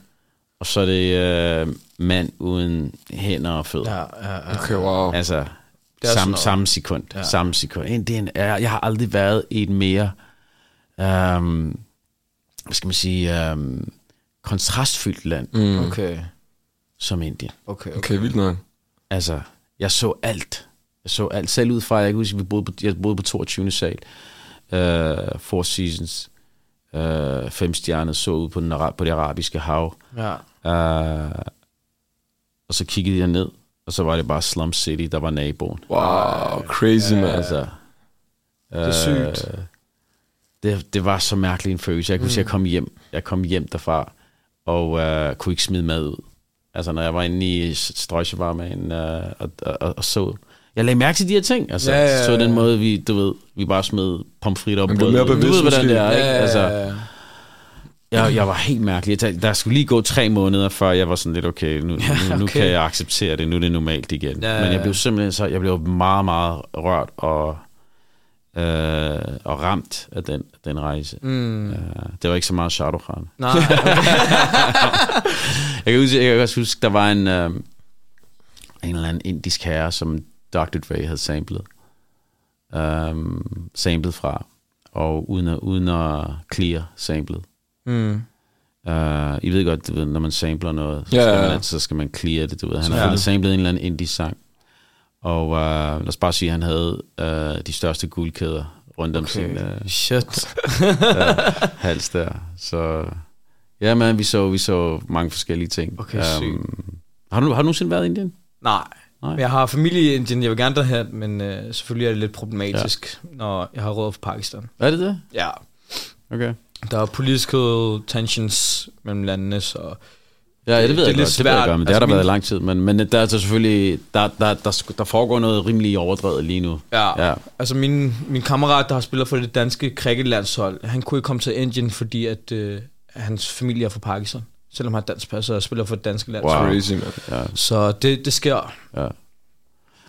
D: og så er det øh, mand uden hænder og fødder.
C: Ja, ja, ja.
B: Okay, wow.
D: Altså,
C: er sådan
D: samme,
C: noget.
D: samme sekund. Ja. Samme sekund. Indien er, jeg har aldrig været i et mere, øhm, hvad skal man sige, øhm, kontrastfyldt land mm.
C: Okay,
D: som Indien.
C: okay. okay.
B: Okay, vildt nok.
D: Altså, jeg så alt. Jeg så alt. Selv ud fra, jeg kan huske, vi boede på, jeg boede på 22. sal. Uh, Four Seasons. Uh, fem stjerner så ud på, den, ara- på det arabiske hav.
C: Ja.
D: Uh, og så kiggede jeg ned, og så var det bare Slum City, der var naboen.
B: Wow, crazy, man.
D: Altså, det
C: er sygt.
D: Det, det var så mærkelig en følelse. Jeg kunne mm. sige, jeg kom hjem. Jeg kom hjem derfra, og øh, kunne ikke smide mad ud. Altså, når jeg var inde i strøjsevarmaen øh, og, og, og, og så... Jeg lagde mærke til de her ting. Altså,
C: Ja,
D: ja,
C: ja, ja,
D: ja, så den
C: ja.
D: måde, vi, du ved, vi bare smed pomfritter og
B: Man blev
D: brød.
B: mere
D: ud. Du
B: bevidst
D: ved, hvordan
B: måske.
D: det er, ikke?
C: Ja,
D: Altså,
C: ja, ja.
D: jeg, jeg var helt mærkelig. Jeg tag- Der skulle lige gå tre måneder, før jeg var sådan lidt, okay, nu, nu, nu
C: okay.
D: kan jeg acceptere det, nu er det normalt igen.
C: Ja,
D: Ja,
C: ja,
D: Men jeg
C: ja.
D: blev simpelthen så, jeg blev meget, meget rørt og, øh, og ramt af den, den rejse.
C: Mm.
D: Ja, det var ikke så meget Shadow Khan.
C: Nej, okay.
D: Jeg kan, huske, jeg kan også huske, der var en, øh, en eller anden indisk herre, som Dr. Dre havde samlet. um, samlet fra, og uden at, uden at clear samlet.
C: Mm.
D: Uh, I ved godt, du ved, når man sampler noget, så,
B: Ja,
D: yeah. skal,
B: ja, ja.
D: man, altså, så skal man clear det. Du ved. Han har
C: Selvfølgelig.
D: samlet en eller anden indie-sang. Og uh, lad os bare sige, at han havde uh, de største guldkæder rundt om okay. sin uh,
C: Shit.
D: hals der. Så ja, man, vi så, vi så mange forskellige ting. Øhm,
C: Okay,
D: har, du, har du nogensinde været i Indien?
C: Nej.
D: Nej.
C: Nej. Jeg har familie i Indien, jeg vil gerne derhen, men øh, selvfølgelig er det lidt problematisk, ja. når jeg har råd for Pakistan.
D: Er det det?
C: Ja,
D: Okay.
C: der er political tensions mellem landene, så
D: Ja, det, det ved
C: det er lidt
D: jeg godt, det ved jeg
C: svært.
D: godt, men det
C: Altså,
D: har der
C: min-
D: været i lang tid. Men, men der er så selvfølgelig, der, der, der, der foregår noget rimelig overdrevet lige nu.
C: ja.
D: Ja.
C: ja. Altså min, min kammerat, der har spillet for det danske cricketlandshold, han kunne ikke komme til Indien, fordi at øh, hans familie er fra Pakistan, selvom han har dansk pas og spiller for det danske landshold.
D: Wow.
C: Wow.
B: Crazy, man.
C: Så det, det sker.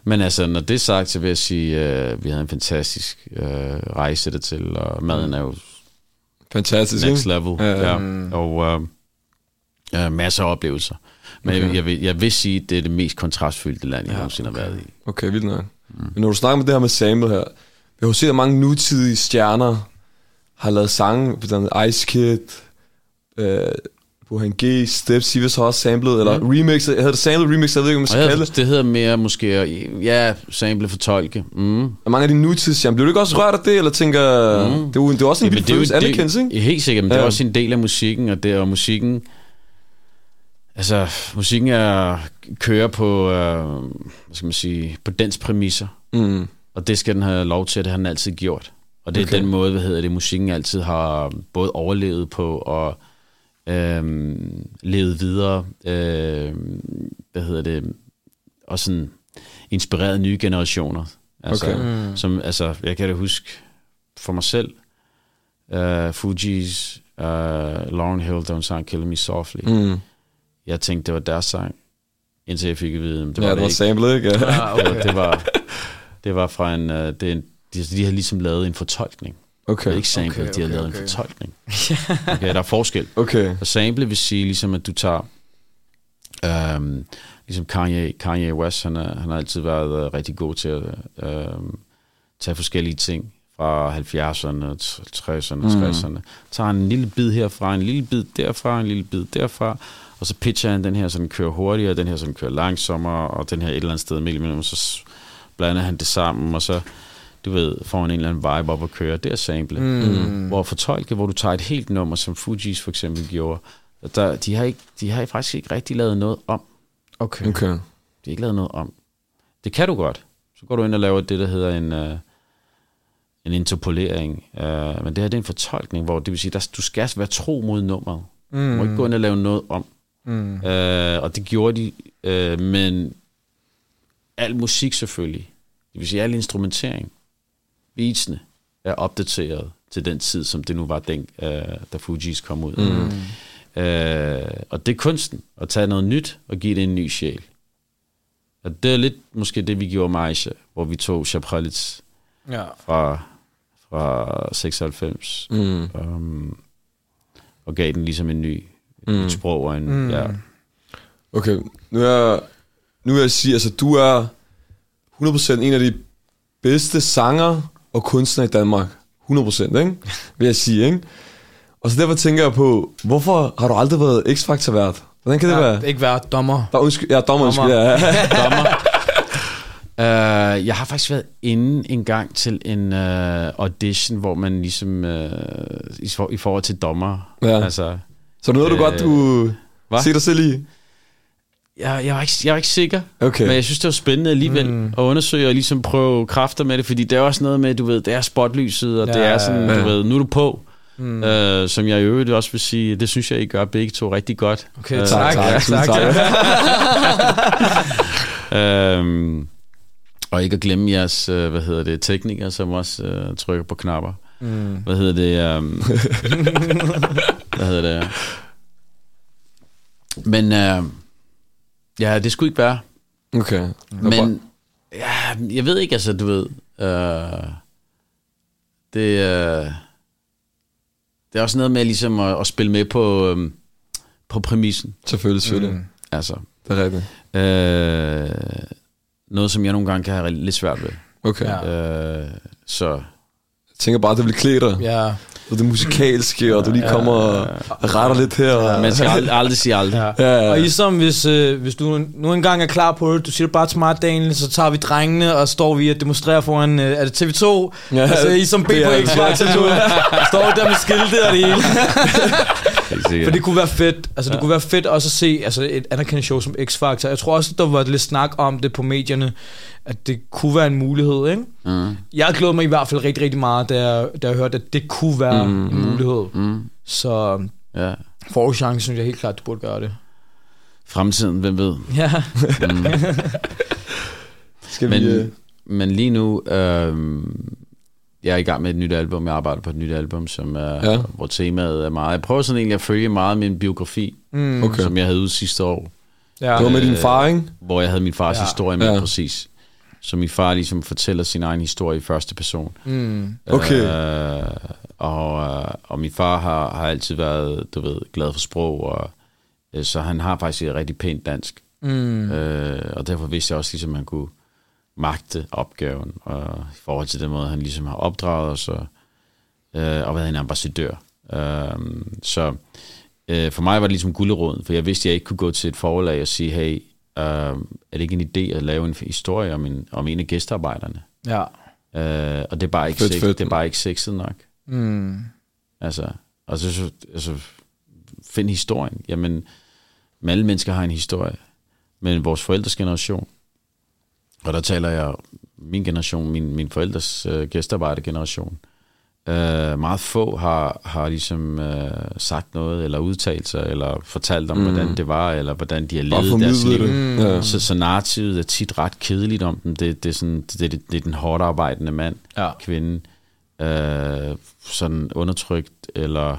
D: Men altså, når det er sagt, så vil jeg sige, at øh, vi havde en fantastisk øh, rejse dertil, og maden
C: Mm.
D: er jo
B: Fantastisk,
D: next
B: ikke?
D: level.
C: Øh,
B: Ja, ja.
D: Ja. Og øh, øh, masser af oplevelser. Men okay. jeg, jeg, vil, jeg vil sige, at det er det mest kontrastfyldte land, jeg ja, nogensinde okay. har været i.
B: Okay, vildt nok. Mm. Men når du snakker med det her med samlet her, vi har jo set, at mange nutidige stjerner har lavet sange, for eksempel Ice Kid, øh, Burhan G, Steps, I har også samlet, eller mm. remixet, jeg havde det samlet remix, jeg ved ikke, om man
D: Og
B: skal
D: jeg
B: kalde
D: havde,
B: det.
D: det hedder mere måske, at- ja, sample for tolke. Mm.
B: Og Mange af de nutidige stjerner, bliver du ikke også rørt af det, eller tænker, mm. det, er jo, det er jo også en
D: Jamen,
B: vild følelse, anerkendelse, ikke?
D: det, Helt sikkert, men ja. det er
B: Ja.
D: også en del af musikken, og det er og musikken... Altså, musikken er, kører på, øh, hvad skal man sige, på dens præmisser,
B: Mm.
D: og det skal den have lov til, det har den altid gjort. Og det okay.
B: Okay.
D: er den måde, hvad hedder det, musikken altid har både overlevet på og øh, levet videre, øh, hvad hedder det, og sådan inspireret nye generationer. Altså,
B: Okay.
D: mm. som, altså, jeg kan da huske for mig selv, uh, Fuji's uh, Lauren Hill, der hun sang Kill Me Softly. Mm.
B: Mm.
D: Jeg tænkte, det var deres sang, indtil jeg fik at vide, at det
B: Det ja,
D: var
B: det var
D: det
B: samlet, ikke? Ja.
C: Ah, okay.
D: ikke. Det var, det var fra en, uh, det er en de, de har ligesom lavet en fortolkning. Det
B: Okay,
D: er ikke sample, okay,
C: Okay,
D: okay, de har
C: okay,
D: lavet en
C: okay.
D: fortolkning. Okay, der er forskel.
B: okay.
D: Og sample vil sige ligesom, at du tager... Øhm, ligesom Kanye, Kanye West, han, er, han har altid været øh, rigtig god til at øhm, tage forskellige ting fra 70'erne, t- 60'erne, mm. 60'erne. Tager en lille bid herfra, en lille bid derfra, en lille bid derfra, og så pitcher han den her, så den kører hurtigere, den her, så den kører langsommere, og den her et eller andet sted midt imellem, så s- blander han det sammen, og så du ved, får han en eller anden vibe op at køre. Det er sample. Mm. Hvor fortolke, hvor du tager et helt nummer, som Fugees for eksempel gjorde, der, de, har ikke, de har faktisk ikke rigtig lavet noget om.
C: Okay.
B: Okay.
D: De har ikke lavet noget om. Det kan du godt. Så går du ind og laver det, der hedder en, øh, en interpolering. Øh, men det her det er en fortolkning, hvor det vil sige, at du skal altså være tro mod nummeret. Mm. Du må ikke gå ind og lave noget om.
C: Mm.
D: Øh, og det gjorde de, øh, men al musik selvfølgelig, det vil sige al instrumentering, beatsene, er opdateret til den tid, som det nu var, den, øh, da Fugees kom ud. Mm. Øh, og det er kunsten, at tage noget nyt og give det en ny sjæl. Og det er lidt måske det, vi gjorde med Aisha, hvor vi tog Chapralits
C: Ja.
D: fra, fra 96
B: Mm.
D: um, og gav den ligesom en ny, mm. et nyt sprog og en, mm. ja,
B: Okay, nu er, nu vil jeg sige, altså du er 100% en af de bedste sanger og kunstnere i Danmark. 100%, ikke? Vil jeg sige, ikke? Og så derfor tænker jeg på, hvorfor har du aldrig været X-Factor-vært? Hvordan kan det ja, være?
C: ja. Ikke være dommer.
B: Bare undskyld, ja, dommer, undskyld, ja.
D: dommer. Uh, jeg har faktisk været inde en gang til en uh, audition, hvor man ligesom, uh, i, for, i forhold til dommer,
B: Ja.
D: altså,
B: Så noget, du
D: Øh,
B: godt, du
D: hva?
B: se dig selv i.
D: jeg, jeg, var ikke, jeg var ikke sikker,
B: Okay.
D: men jeg synes, det var spændende alligevel mm. at undersøge og ligesom prøve kræfter med det, fordi det er også noget med, du ved, det er spotlyset, og ja, det
C: Ja.
D: er sådan, ja.
B: Ja.
D: du ved, nu er du på, mm. uh, som jeg i øvrigt også vil sige, det synes jeg, I gør begge to rigtig godt.
C: Okay,
D: Øh,
C: tak.
B: tak,
C: tak,
B: tak.
D: Øhm, og ikke at glemme jeres, øh, hvad hedder det, teknikere, som også øh, trykker på knapper. Mm. Hvad hedder det? Øhm, hvad hedder det? Men øh, ja, det skulle ikke være.
B: Okay.
D: Men ja, jeg ved ikke, altså, du ved, øh, det, øh, det er også noget med ligesom at, at spille med på, øh, på præmissen.
B: Selvfølgelig, selvfølgelig. Mm.
D: Altså,
B: Det er rigtigt.
D: Øh, noget, som jeg nogle gange kan have lidt svært ved.
B: Okay.
C: Ja.
B: Ja.
D: Øh, så
B: Jeg tænker bare, at det bliver klædt dig. Ja.
C: Ja.
B: Og det musikalske, og du lige kommer og retter lidt her. Og...
D: man skal aldrig, aldrig sige aldrig. Ja.
B: Ja, ja.
C: Og ligesom hvis, øh, hvis du nu engang er klar på det, du siger det bare til mig, Daniel, så tager vi drengene, og står vi og demonstrerer foran, øh, er det TV2? Ja, altså, I som B
B: det
C: på
B: er-
C: X-Factor nu, står der med skilte og det hele. For det
D: Fordi,
C: kunne være fedt. Altså, det kunne være fedt også at se altså, et anerkendt show som X-Factor. Jeg tror også, der var lidt snak om det på medierne, at det kunne være en mulighed, ikke?
D: mm,
C: Jeg glæder mig i hvert fald rigtig, rigtig meget, da jeg, da jeg hørte, at det kunne være mm, en mulighed. Mm.
D: mm,
C: Så
D: ja.
C: får du chancen, synes jeg helt klart, du burde gøre det.
D: Fremtiden, hvem ved?
C: Ja.
D: Mm.
B: Skal vi... øh,
D: Men, men lige nu, øh, jeg er i gang med et nyt album. Jeg arbejder på et nyt album, som er,
B: Ja.
D: ja. hvor temaet er meget. Jeg prøver sådan egentlig at følge meget min biografi,
C: Mm,
B: Okay.
D: okay. som jeg havde ude sidste år,
C: ja.
B: Det var med din far, ikke?
D: hvor jeg havde min fars
C: Ja.
D: ja. historie med
B: Ja.
D: ja. præcis. Så min far ligesom fortæller sin egen historie i første person.
C: Mm.
B: Okay.
D: Øh, og, øh, og min far har, har altid været, du ved, glad for sprog, og, øh, så han har faktisk et rigtig pænt dansk.
C: Mm.
D: Øh, og derfor vidste jeg også, ligesom, at han kunne magte opgaven, og i forhold til den måde, han ligesom har opdraget os, og, øh, og været en ambassadør. Øh, så øh, for mig var det ligesom gulderåden, for jeg vidste, at jeg ikke kunne gå til et forlag og sige, hey, øh, er det ikke en idé at lave en historie om en, om en af gæstearbejderne?
C: Ja.
D: Øh, og det er bare ikke,
B: Fedt,
D: sex,
B: fedt.
D: det er bare ikke sexet nok.
C: Mm.
D: Altså, og så, så altså, find historien. Jamen, men alle mennesker har en historie. Men vores forældres generation, og der taler jeg min generation, min, min forældres øh, gæstarbejdergeneration, øh, meget få har, har ligesom øh, sagt noget, eller udtalt sig, eller fortalt om, mm. hvordan det var, eller hvordan de har
B: Bare
D: levet Øh, deres
B: formidle
D: liv. Mm.
B: det. Ja.
D: Så, så narrativet er tit ret kedeligt om dem. Det, det, er, sådan, det, det, det er den hårdt arbejdende mand,
C: Ja.
D: kvinde, øh, sådan undertrykt, eller...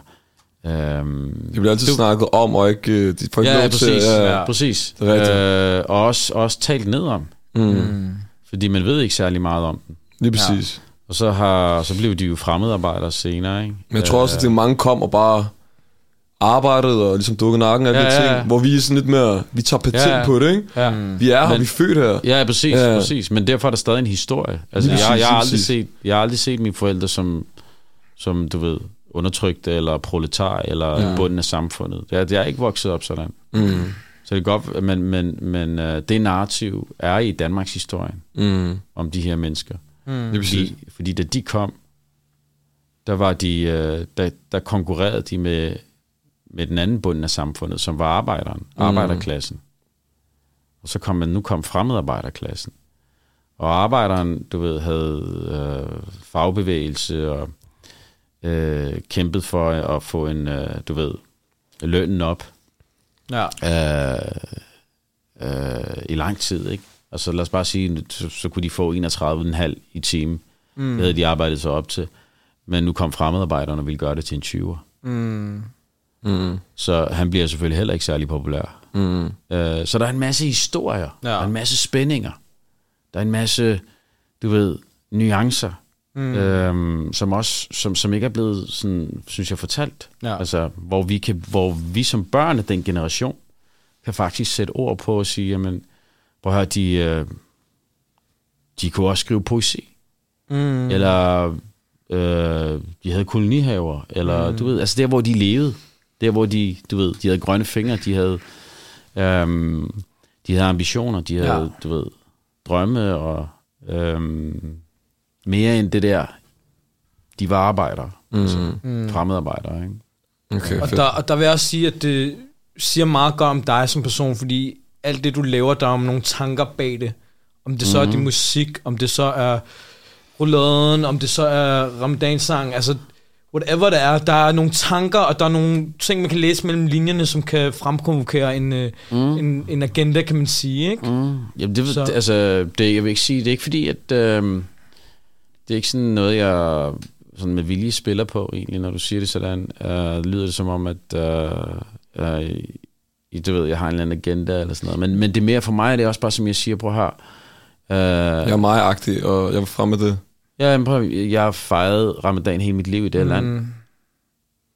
D: Øh,
B: Det bliver altid du... snakket om, og ikke... øh, De får ikke
D: ja,
B: lov til...
D: præcis.
B: ja.
D: ja. præcis.
B: Det er
D: Øh, og også, også talt ned om,
B: Mm.
D: fordi man ved ikke særlig meget om dem.
B: Lige præcis.
D: Og så, har, så blev de jo fremmedarbejdere senere, ikke?
B: Men jeg tror også, at det mange kom og bare arbejdede og ligesom dukkede nakken af ja,
D: Ja,
B: de
D: ja,
B: ting,
D: ja.
B: hvor vi er sådan lidt mere, vi tager patent ja,
D: Ja,
B: ja.
D: ja.
B: på det, ikke?
D: Ja.
B: Vi er her,
D: Men-
B: vi er født her.
D: Ja, præcis,
B: Ja.
D: ja. præcis. Men derfor er der stadig en historie. Altså,
B: Lige
D: jeg,
B: præcis,
D: jeg,
B: lige
D: har aldrig
B: præcis.
D: set, jeg har aldrig set mine forældre som, som du ved, undertrykte eller proletar eller ja. bunden af samfundet. Jeg, jeg er ikke vokset op sådan.
B: Mm.
D: Så det er godt, men, men, men øh, det narrativ er i Danmarks historie
B: Mm.
D: om de her mennesker.
B: Det er præcis.
D: Fordi, fordi da de kom, der var de, øh, der, der konkurrerede de med, med den anden bunden af samfundet, som var arbejderen, arbejderklassen. Og så kom man, nu kom fremmedarbejderklassen. Og arbejderen, du ved, havde øh, fagbevægelse og øh, kæmpet for at få en, øh, du ved, lønnen op
C: Ja.
D: øh, øh, i lang tid, ikke? Altså lad os bare sige, så, så kunne de få 31,5 i timen. Mm. Det havde de arbejdet sig op til. Men nu kom fremmedarbejderne og ville gøre det til en 20'er.
C: Mm.
B: Mm.
D: Så han bliver selvfølgelig heller ikke særlig populær.
B: Mm.
D: Øh, så der er en masse historier.
C: Ja.
D: Ja. Der er en masse spændinger. Der er en masse, du ved, nuancer. Mm. Øhm, som også som, som ikke er blevet sådan, synes jeg fortalt
C: Ja.
D: altså, hvor, vi kan, hvor vi som børn af den generation kan faktisk sætte ord på og sige jamen prøv at høre, de, øh, de kunne også skrive poesi
C: Mm.
D: mm. eller øh, de havde kolonihaver eller mm. du ved altså der hvor de levede der hvor de du ved de havde grønne fingre de havde øhm, de havde ambitioner de havde
C: Ja.
D: ja. du ved drømme og øhm, mere end det der de var arbejdere mm. altså, fremmedarbejdere ikke?
B: Okay,
C: Og,
B: fedt.
C: der, og der vil jeg også sige, at det siger meget godt om dig som person, fordi alt det, du laver, der er om nogle tanker bag det. Om det så mm-hmm. er din musik, om det så er rulladen, om det så er ramadansang, altså whatever det er, der er nogle tanker, og der er nogle ting, man kan læse mellem linjerne, som kan fremkonvokere en, mm. en, en agenda, kan man sige, ikke? Mm.
D: Jamen det,
C: Så-
D: det, altså, det, jeg vil ikke sige, det er ikke fordi, at øh, det er ikke sådan noget, jeg sådan med vilje spiller på egentlig, når du siger det sådan. Øh, lyder det som om, at øh, øh, i- du ved, jeg har en eller anden agenda eller sådan noget. Men, men det er mere for mig, det er også bare, som jeg siger, prøv her. Øh,
B: Jeg er meget agtig, og jeg vil fremme det.
D: ja, men prøv, at- jeg har fejret ramadan hele mit liv i det her mm, land,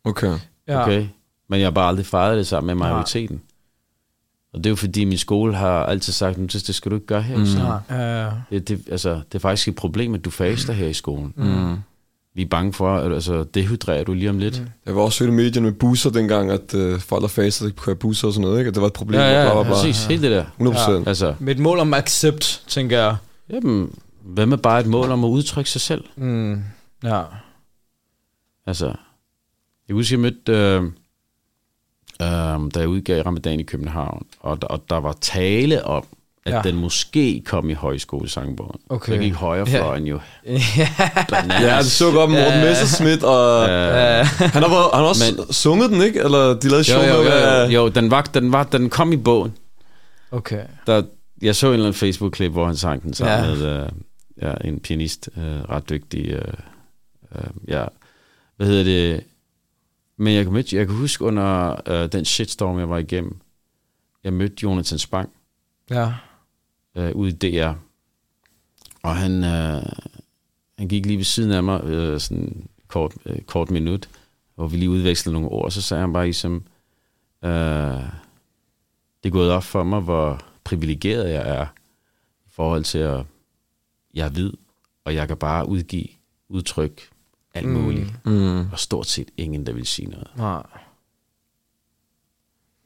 B: Okay.
C: Ja.
D: okay? Men jeg har bare aldrig fejret det sammen med majoriteten. Og det er jo fordi, min skole har altid sagt, "Men det det skal du ikke gøre her. Mm.
E: Øh,
D: Det, det, altså, det er faktisk et problem, at du faster her i skolen. Mm. Vi er bange for, at altså, dehydrerer du lige om lidt. Mm.
B: Jeg var også hørt i medierne med busser dengang, at øh, folk der faster ikke kunne køre busser og sådan noget, ikke? At det var et problem.
D: Ja, ja,
B: og bla, Mm.
D: ja,
B: bla, bla.
D: præcis. Helt det der.
B: 100 procent. Ja.
D: Altså,
E: med et mål om accept, tænker jeg.
D: jamen, hvad med bare et mål om at udtrykke sig selv?
E: Mm, ja.
D: Altså, jeg kan huske, jeg mødte, øh, øh, da jeg udgav Ramadan i København, og, der- og der var tale om, at ja.
E: Ja.
D: den måske kom i højskolesangbogen.
E: Okay.
D: Så gik højrefløjen jo.
B: Ja, det så godt med Morten Messerschmidt, og
D: Øh,
B: han har, været- han har også
D: Men-
B: sunget den, ikke? Eller de lavede
D: Jo,
B: show
D: jo,
B: med,
D: jo, jo,
B: at-
D: øh, jo den, var, den, var, den kom i bogen.
E: Okay.
D: Der, jeg så en eller anden Facebook-klip, hvor han sang den sammen ja.
E: Ja.
D: med øh, ja, en pianist, øh, ret dygtig. Øh, øh, ja, hvad hedder det? Men jeg kan, mødte, jeg kan huske under øh, den shitstorm, jeg var igennem, jeg mødte Jonathan Spang,
E: Ja.
D: øh, ude i DR. Og han, øh, han gik lige ved siden af mig, øh, sådan kort, øh, kort minut, hvor vi lige udvekslede nogle ord, så sagde han bare ligesom, øh, det er gået op for mig, hvor privilegeret jeg er i forhold til, at jeg er hvid, og jeg kan bare udgive udtryk, alt muligt, mm. og stort set ingen, der vil sige noget.
E: Nej.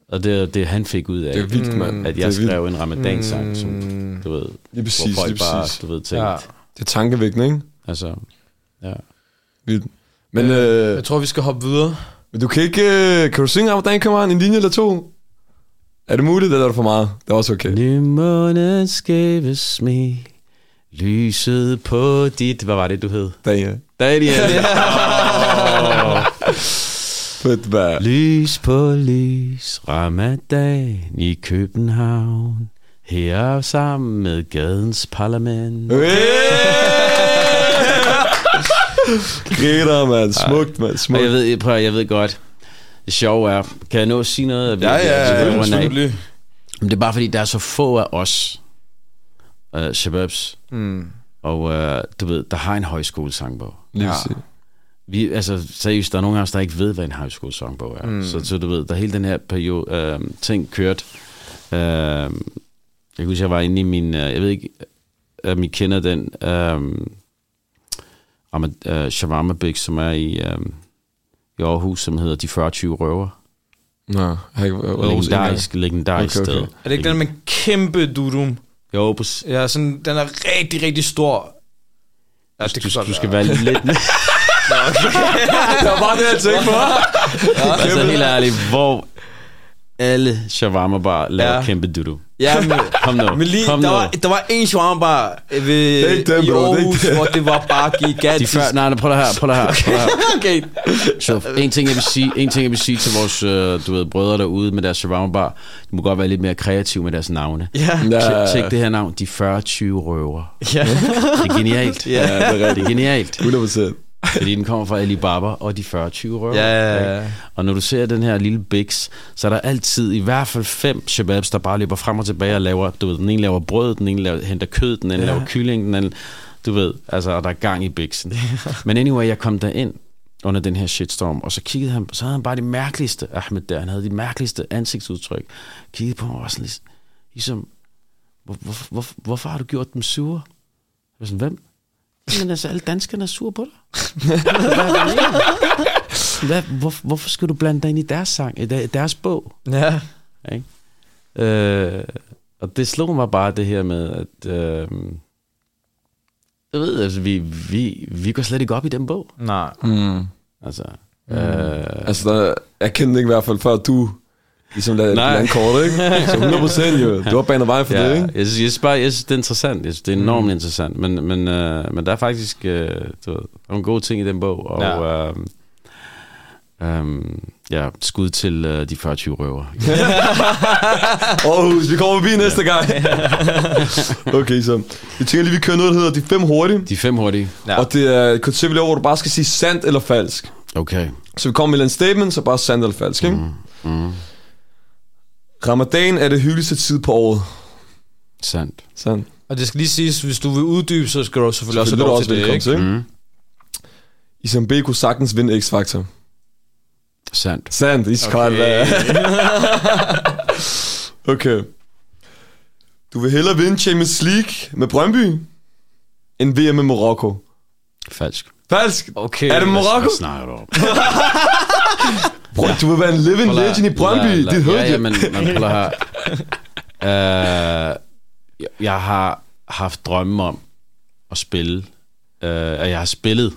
D: Og det er det, han fik ud af,
B: Det er vildt, mand.
D: at
B: Det er
D: jeg
B: vildt. Mm.
D: skrev en ramadansang, som du ved,
B: Lige præcis,
D: hvor folk
B: lige
D: bare,
B: præcis.
D: du ved, tænkte,
E: Ja.
D: ja.
B: Det er tankevækkende, ikke?
D: Altså, ja.
B: Vildt. Men, øh,
E: Jeg tror, vi skal hoppe videre.
B: men du kan ikke... Øh, kan du synge Ramadan, kommer en linje eller to? Er det muligt, eller er det for meget? Det er også okay.
D: Ny måneds skæve smil, lyset på dit... Hvad var det, du hed?
B: Daniel.
D: Daniel.
B: Fedt, hvad?
D: lys på lys, ramadan i København. Her sammen med gadens
B: Øh,
D: parlament.
B: Griner, mand. Smukt, mand.
D: Og jeg
B: Smukt.
D: ved, prøv, at- jeg ved godt, det sjove er, kan jeg nå at sige noget?
B: Ja, ja,
D: Jeg vil runde af.
C: Selvfølgelig.
D: Men det er bare fordi, der er så få af os, øh, shababs,
E: Mm.
D: og øh, du ved, der har en højskolesangbog.
B: Lige præcis.
D: vi, altså seriøst, der er nogle af os, der ikke ved, hvad en high school songbog er. Mm. Så, så du ved, der hele den her periode, øh, ting kørt. Øh, jeg kan huske, jeg var inde i min, øh, jeg ved ikke, om I kender den, øh, Ramad- øh, shawarma Big, som er i, øh, i Aarhus, som hedder De 40 Røver.
B: Nå, jeg har ikke... jeg- jeg- jeg-
D: Legendarisk, legendarisk
B: Okay,
D: okay,
B: okay.
D: okay. sted.
E: Er det ikke den med kæmpe dudum?
D: Jo, præcis.
E: Ja, sådan, den er rigtig, rigtig stor. Ja, det
D: Du,
E: kan godt
D: du skal være lidt...
B: Det var bare det, jeg tænkte på.
D: altså helt ærligt, hvor alle shawarma bar laver ja.
E: Ja.
D: kæmpe dudu.
E: Ja, men,
D: Kom nu,
E: men lige,
D: kom
E: der,
D: nu.
E: var, der var en shawarma bar eh, ved,
B: er ikke dem,
E: i
B: bro, det er ikke
E: Aarhus,
B: dem.
E: hvor det var bare
D: De
E: gigantisk.
D: før, nej, nej, prøv det her, prøv det her, prøv det her.
E: okay.
D: Så en ting, jeg vil sige, en ting, jeg vil sige til vores øh, du ved, brødre derude med deres shawarma bar, de må godt være lidt mere kreative med deres navne.
E: Ja.
B: Ja,
D: Tjek, tjek det her navn, de 40-20 røver.
E: ja.
D: Det er genialt.
B: ja, det er
D: Det er
B: rigtigt.
D: genialt,
B: 100 procent.
D: fordi den kommer fra Alibaba og de 40-20 røver.
E: Ja, ja, ja.
D: Ikke? Og når du ser den her lille Bix, så er der altid i hvert fald fem shababs, der bare løber frem og tilbage og laver, du ved, den ene laver brød, den ene laver, henter kød, den anden ja. laver kylling, den anden, du ved, altså, og der er gang i Bixen. Men anyway, jeg kom derind under den her shitstorm, og så kiggede han, så havde han bare det mærkeligste, Ahmed der, han havde de mærkeligste ansigtsudtryk, kiggede på mig og var sådan lidt, ligesom, hvor, hvor, hvor, hvorfor har du gjort dem sure? Jeg var sådan, hvem? Men altså, alle danskerne er sure på dig. Hvad, hvad, mener du? hvad, hvor, hvorfor skal du blande dig ind i deres sang, i der- deres bog?
E: ja.
D: Ikke? Øh, og det slog mig bare det her med, at øh, jeg ved, altså, vi, vi, vi går slet ikke op i den bog.
E: Nej.
B: Mm.
D: Altså, mm. øh,
B: Altså, der, jeg kendte den ikke i hvert fald, før du ligesom lavede
D: Nej.
B: et kort, ikke? Så 100 procent, jo. Du har banet vej for det,
D: ja,
B: ikke?
D: jeg, synes, jeg, synes bare, jeg synes, det er interessant. Jeg synes, det er enormt mm. interessant. Men, men, øh, men der er faktisk øh, du ved, der er nogle gode ting i den bog. Og, ja. Øh, øh, ja, skud til øh, de 40 røver.
B: Aarhus, vi kommer forbi næste gang. okay, så. Jeg tænker lige, vi kører noget, der hedder De Fem Hurtige.
D: De fem hurtige.
B: Ja. Og det er et koncept, vi laver, hvor du bare skal sige sandt eller falsk.
D: Okay.
B: Så vi kommer med en statement, så bare sandt eller falsk, ikke? Mm. Mm. Ramadan er det hyggeligste tid på året.
D: Sandt.
B: Sandt.
E: Og det skal lige siges, hvis du vil uddybe, så skal du selvfølgelig også
B: Så
E: have
B: du
E: lov
B: også
E: til det,
B: velkommen
E: ikke?
B: til, ikke? Mm.
D: Mm.
B: Isam B kunne sagtens vinde X-Factor.
D: Sandt.
B: Sandt, iskold. Okay. Okay. Du vil hellere vinde Champions League med Brøndby, end VM med Marokko.
D: Falsk.
B: Falsk!
C: Okay.
B: Er det Marokko?
D: Hvad snakker du om?
B: Bro, du vil være en living legend i Brøndby. Det hørte
D: ja,
B: jeg.
D: men, men prøv her. Uh, jeg har haft drømme om at spille, uh, og jeg har spillet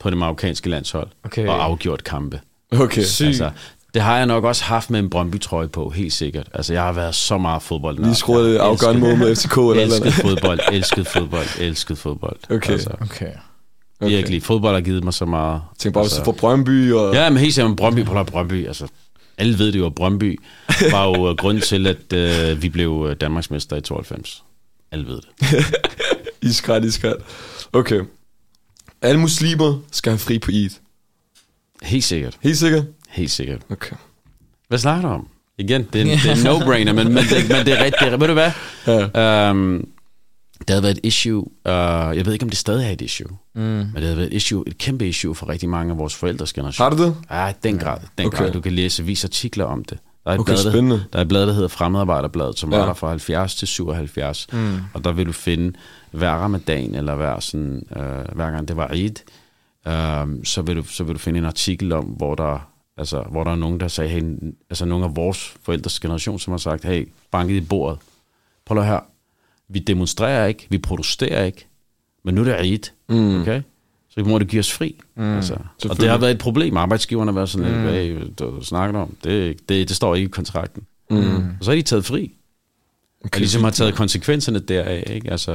D: på det marokkanske landshold
C: Okay.
D: og afgjort kampe.
B: Okay.
D: Altså, det har jeg nok også haft med en Brøndby-trøje på, helt sikkert. Altså, jeg har været så meget fodbold.
B: Lige skruer det afgørende mål med FCK eller eller
D: Elsket
B: andet.
D: fodbold, elsket fodbold, elsket fodbold.
B: Okay.
D: Altså,
C: Okay.
B: Okay.
D: Virkelig, fodbold har givet mig så meget. Altså,
B: Tænk bare, hvis du får Brøndby og...
D: Ja, men helt sikkert Brøndby, prøv at høre, Brøndby, altså alle ved det jo, at Brøndby var jo øh, grunden til, at øh, vi blev øh, Danmarksmester i 92. Alle ved det.
B: Iskrat, iskrat. Okay. Alle muslimer skal have fri på Eid.
D: Helt sikkert,
B: Helt sikkert?
D: helt sikkert.
B: Okay.
D: Hvad snakker du om? Igen, det er en, det er en no-brainer, men, men, det, men det er rigtigt. det er- Ved du hvad? Ja. Um, det havde været et issue, uh, jeg ved ikke, om det stadig er et issue, mm. men det havde været et issue, et kæmpe issue for rigtig mange af vores forældres generation.
B: Har du det?
D: Ja, i den grad. Den
B: Okay.
D: okay. grad. Du kan læse avisartikler om det. Der er et
B: Okay,
D: blad,
B: spændende.
D: der, der er et blad, der hedder Fremmedarbejderbladet, som
B: Ja.
D: ja. er der fra 70 til 77. Mm. Og der vil du finde hver ramadan, eller hver, sådan, øh, hver gang det var Eid, øh, så, vil du, så vil du finde en artikel om, hvor der, altså, hvor der er nogen, der sagde, hey, altså nogle af vores forældres generation, som har sagt, hey, banket i bordet. Prøv lige at høre. Vi demonstrerer ikke, vi protesterer ikke, men nu er det Eid, mm. okay? Så vi må det give os fri. Mm. Altså. Og det har været et problem. Arbejdsgiverne har været sådan, mm. hey, du, du snakker om, det, er ikke- det, det står ikke i kontrakten. Mm. Og så er de taget fri. Okay. Og ligesom har taget konsekvenserne deraf, ikke? Altså,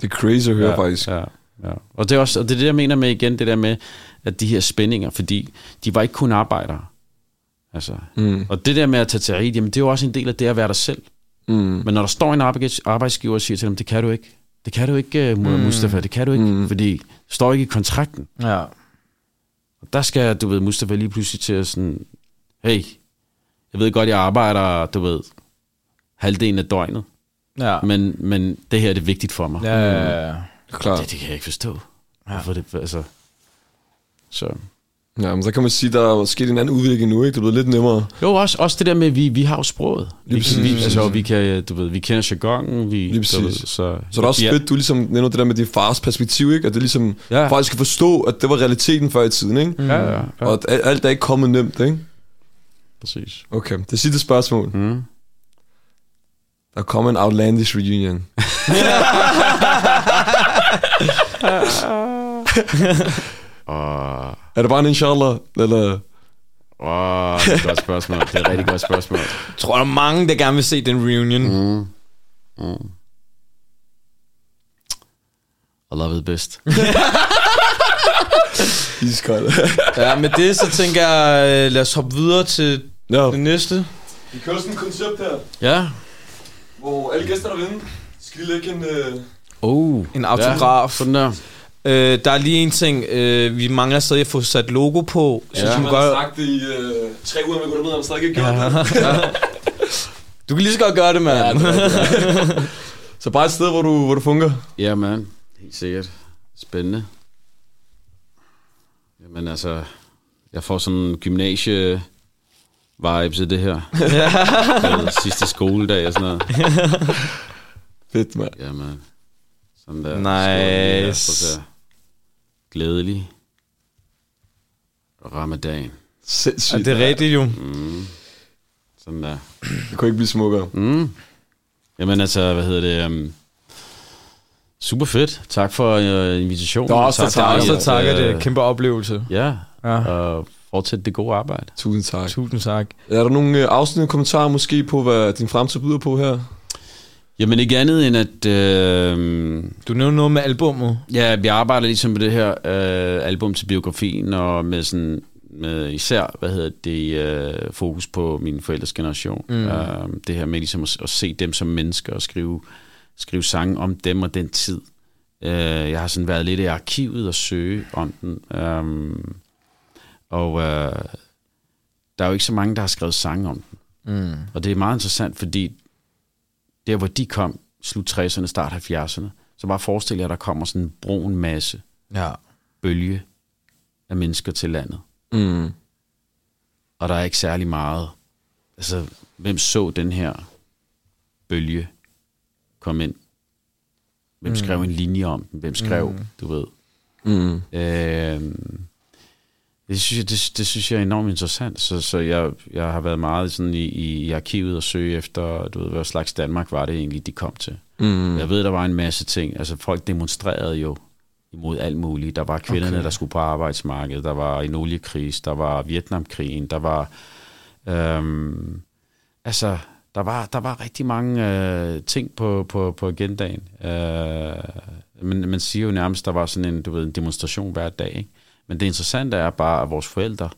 B: Det er crazy at høre, ja, faktisk. Ja.
D: Ja, ja. Og det er også og det, er det, jeg mener med igen, det der med, at de her spændinger, fordi de var ikke kun arbejdere. Altså. Mm. Og det der med at tage til Eid, jamen, det er jo også en del af det at være dig selv. Mm. Men når der står en arbejds- arbejdsgiver og siger til dem, det kan du ikke. Det kan du ikke, Mur- Mustafa, det kan du ikke, mm. fordi det står ikke i kontrakten.
C: Ja.
D: Og der skal, du ved, Mustafa lige pludselig til at sådan, hey, jeg ved godt, jeg arbejder, du ved, halvdelen af døgnet,
C: Ja.
D: men, men det her er det vigtigt for mig.
C: Ja, ja, ja.
B: Klar.
D: Det, det kan jeg ikke forstå. Ja. Hvorfor det, altså... Så.
B: Ja, men så kan man sige, der er sket en anden udvikling nu, ikke? Det er blevet lidt nemmere.
D: Jo, også, også det der med, at vi, vi har jo sproget. Vi, kan, vi, altså, vi, kan, du ved, vi kender jargonen. Vi,
B: Lige
D: du ved,
B: præcis.
D: så,
B: Så er det også
D: ja,
B: ja. fedt, du ligesom nævner det der med din fars perspektiv, ikke? At det ligesom ja.
D: Ja. Mm.
B: folk skal forstå, at det var realiteten før i tiden, ikke?
D: Ja, ja, ja,
B: Og at al- alt er ikke kommet nemt, ikke?
D: præcis.
B: Okay, det sidste spørgsmål. Mm. Der kommer en Outlandish reunion.
D: Åh,
B: Er det bare en inshallah, eller...
D: åh, det er et godt spørgsmål. Det er et rigtig godt spørgsmål.
C: Jeg tror, der er mange, der gerne vil se den reunion. Mm.
D: I love it best.
B: Iskold.
C: Ja, med det, så tænker jeg, øh, lad os hoppe videre til
B: ja.
C: det næste.
B: Vi kører sådan et koncept her,
D: Ja.
B: hvor alle gæster derinde skal lige lægge en... Øh...
D: Oh.
C: En autograf.
D: Ja, sådan der.
C: Øh, der er lige en ting, øh, vi mangler stadig at få sat logo på. Så
D: Ja.
C: ja.
B: Du
C: du,
B: har
C: gør,
B: sagt det i øh, tre uger, man går ned, og man stadig ikke gjort det.
C: du kan lige så godt gøre det, mand.
B: Så bare et sted, hvor du, hvor du funker.
D: Ja, man. Helt sikkert. Spændende. Jamen altså, jeg får sådan en gymnasie vibe til det her. Ja. sidste skoledag og sådan noget.
B: Fedt, mand.
D: Ja, man. Sådan der.
C: Nice.
D: Sådan der. Glædelig. Ramadan.
C: Ja,
B: Sindssygt.
C: det er rigtigt jo.
D: Sådan der.
B: Det kunne ikke blive smukkere. Mm.
D: Jamen altså, hvad hedder det? Um, super fedt. Tak for uh, invitationen.
B: Der er også,
D: Tak
B: der er
D: fordi,
B: også,
C: Så
D: at,
C: tak,
D: øh,
C: det er en kæmpe oplevelse.
D: Ja,
C: Ja.
D: og fortsæt det gode arbejde.
B: Tusind tak.
C: Tusind tak.
B: Er der nogle øh, afsluttende kommentarer måske på, hvad din fremtid byder på her?
D: Jamen ikke andet end, at øh,
C: Du nævnte noget med albummet.
D: ja, vi arbejder ligesom med det her øh, album til biografien, og med sådan med især, hvad hedder det, øh, fokus på min forældres generation. Mm. Øh, det her med ligesom at, at se dem som mennesker og skrive, skrive sange om dem og den tid. Øh, jeg har sådan været lidt i arkivet og søge om den. Øh, og øh, der er jo ikke så mange, der har skrevet sange om den. Mm. Og det er meget interessant, fordi der hvor de kom, slut 60'erne, start 70'erne, så bare forestil jer, at der kommer sådan en brun masse
C: Ja.
D: bølge af mennesker til landet.
B: Mm.
D: Og der er ikke særlig meget. Altså, hvem så den her bølge kom ind. Hvem skrev en linje om den? Hvem skrev, mm. du ved?
B: Mm.
D: Øh, det, synes jeg, det, det synes jeg er enormt interessant. Så, så jeg, jeg har været meget sådan i, i, i arkivet og søge efter, du ved, hvad slags Danmark var det egentlig, de kom til.
B: Mm.
D: Jeg ved, der var en masse ting. Altså, folk demonstrerede jo imod alt muligt. Der var kvinderne, okay. der skulle på arbejdsmarkedet. Der var en oliekris. Der var Vietnamkrigen. Der var... Øhm, altså, der var, der var rigtig mange øh, ting på, på, på agendaen. Øh, men man siger jo nærmest, der var sådan en, du ved, en demonstration hver dag. Ikke? Men det interessante er bare, at vores forældre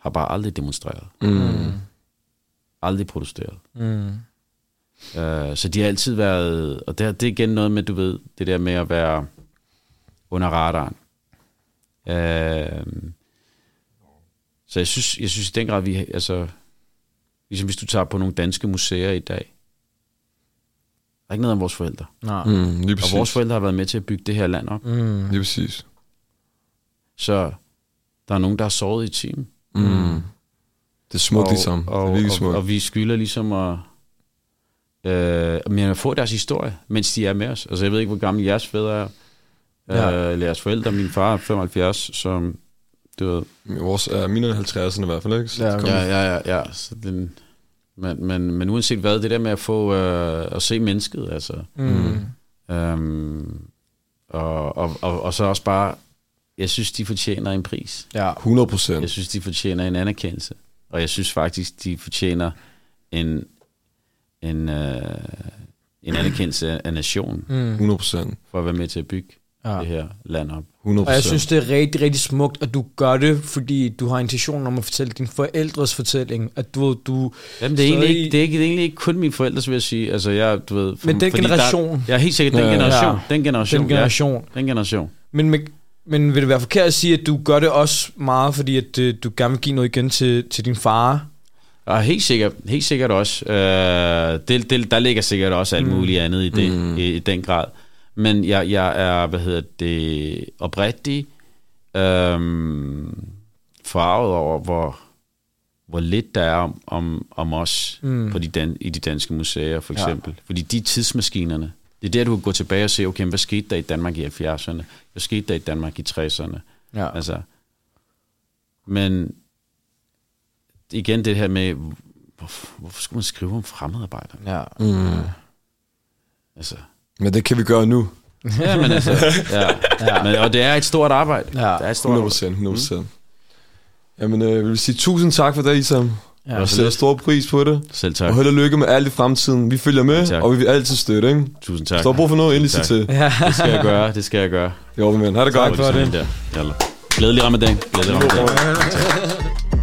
D: har bare aldrig demonstreret.
B: Mm.
D: Aldrig protesteret.
E: Mm.
D: Øh, så de har altid været, og det, det er igen noget med, du ved, det der med at være under radaren. Øh, så jeg synes, jeg synes i den grad, vi, altså, ligesom hvis du tager på nogle danske museer i dag, der er ikke noget om vores forældre.
E: Nej.
B: Mm. Lige
D: Og
B: præcis.
D: vores forældre har været med til at bygge det her land op.
E: Mm.
B: Lige præcis.
D: Så der er nogen, der er såret i timen.
B: Mm. Det er smukt ligesom.
D: Og,
B: det er virkelig
D: og,
B: smukt.
D: og vi skylder ligesom at, øh, men at få deres historie, mens de er med os. Altså jeg ved ikke, hvor gamle jeres fædre er, ja. øh, eller jeres forældre. Min far er 75, så du ved.
B: Vores er mine er 50'erne i hvert fald, ikke? Så
E: Ja,
B: det kommer-
D: Ja, ja, ja. ja så den, men, men, men uanset hvad, det der med at få øh, at se mennesket, altså.
E: Mm.
D: Øhm, og, og, og, og så også bare, jeg synes, de fortjener en pris.
B: 100 procent.
D: Jeg synes, de fortjener en anerkendelse. Og jeg synes faktisk, de fortjener en, en, øh, en anerkendelse af nationen, mm.
B: 100 procent.
D: for at være med til at bygge ja.
E: Ja.
D: det her land op.
B: 100
E: Og jeg
B: procent.
E: synes, det er rigtig, rigtig smukt, at du gør det, fordi du har intentionen om at fortælle din forældres fortælling. At du, du
D: Jamen, det, er
E: Så
D: egentlig
E: I-
D: ikke, det, er ikke, det er egentlig ikke kun mine forældre, så vil jeg sige. Altså, jeg, du ved, for,
E: Men den
D: fordi Der,
E: generation.
D: jeg er helt sikkert den
B: Ja.
D: generation.
E: Ja.
D: Den generation.
E: den generation.
D: Ja, den generation.
E: Men, med, men vil det være forkert at sige, at du gør det også meget, fordi at, øh, du gerne vil give noget igen til, til din far?
D: Og helt sikkert, helt sikkert også. Øh, det, det, der ligger sikkert også alt muligt andet i det, mm. i, i den grad. Men jeg, jeg er, hvad hedder det, oprigtig øhm, forarvet over, hvor, hvor lidt der er om, om, om os mm. på de dan, i de danske museer, for eksempel. Ja. Fordi de er tidsmaskinerne. Det er der, du kan gå tilbage og se, okay, men hvad skete der i Danmark i 70'erne? Hvad skete der i Danmark i 60'erne?
E: Ja.
D: Altså, men igen det her med, hvorfor, hvorfor skulle man skrive om fremmedarbejderne?
E: Ja.
D: Altså,
B: Men det kan vi gøre nu.
D: ja, men altså, ja, ja. Men, og det er et stort arbejde. Ja. Det er et stort
B: 100
D: arbejde.
B: procent. 100 procent.
E: Mm.
B: Jamen, øh, vil vi sige tusind tak for det, Isam. Ja, jeg
D: så
B: sætter
D: lidt.
B: stor pris på det.
D: Selv tak.
B: Og held og lykke med alt i fremtiden. Vi følger med,
D: Tak.
B: og vi vil altid støtte, ikke?
D: Tusind tak.
B: Hvis der er brug for noget, endelig sig
D: Tak.
B: til.
D: Det skal jeg gøre, det skal jeg gøre.
B: Jo, men ha' det godt.
D: Sådan Der. Jalla. Glædelig ramadan. Glædelig ramadan.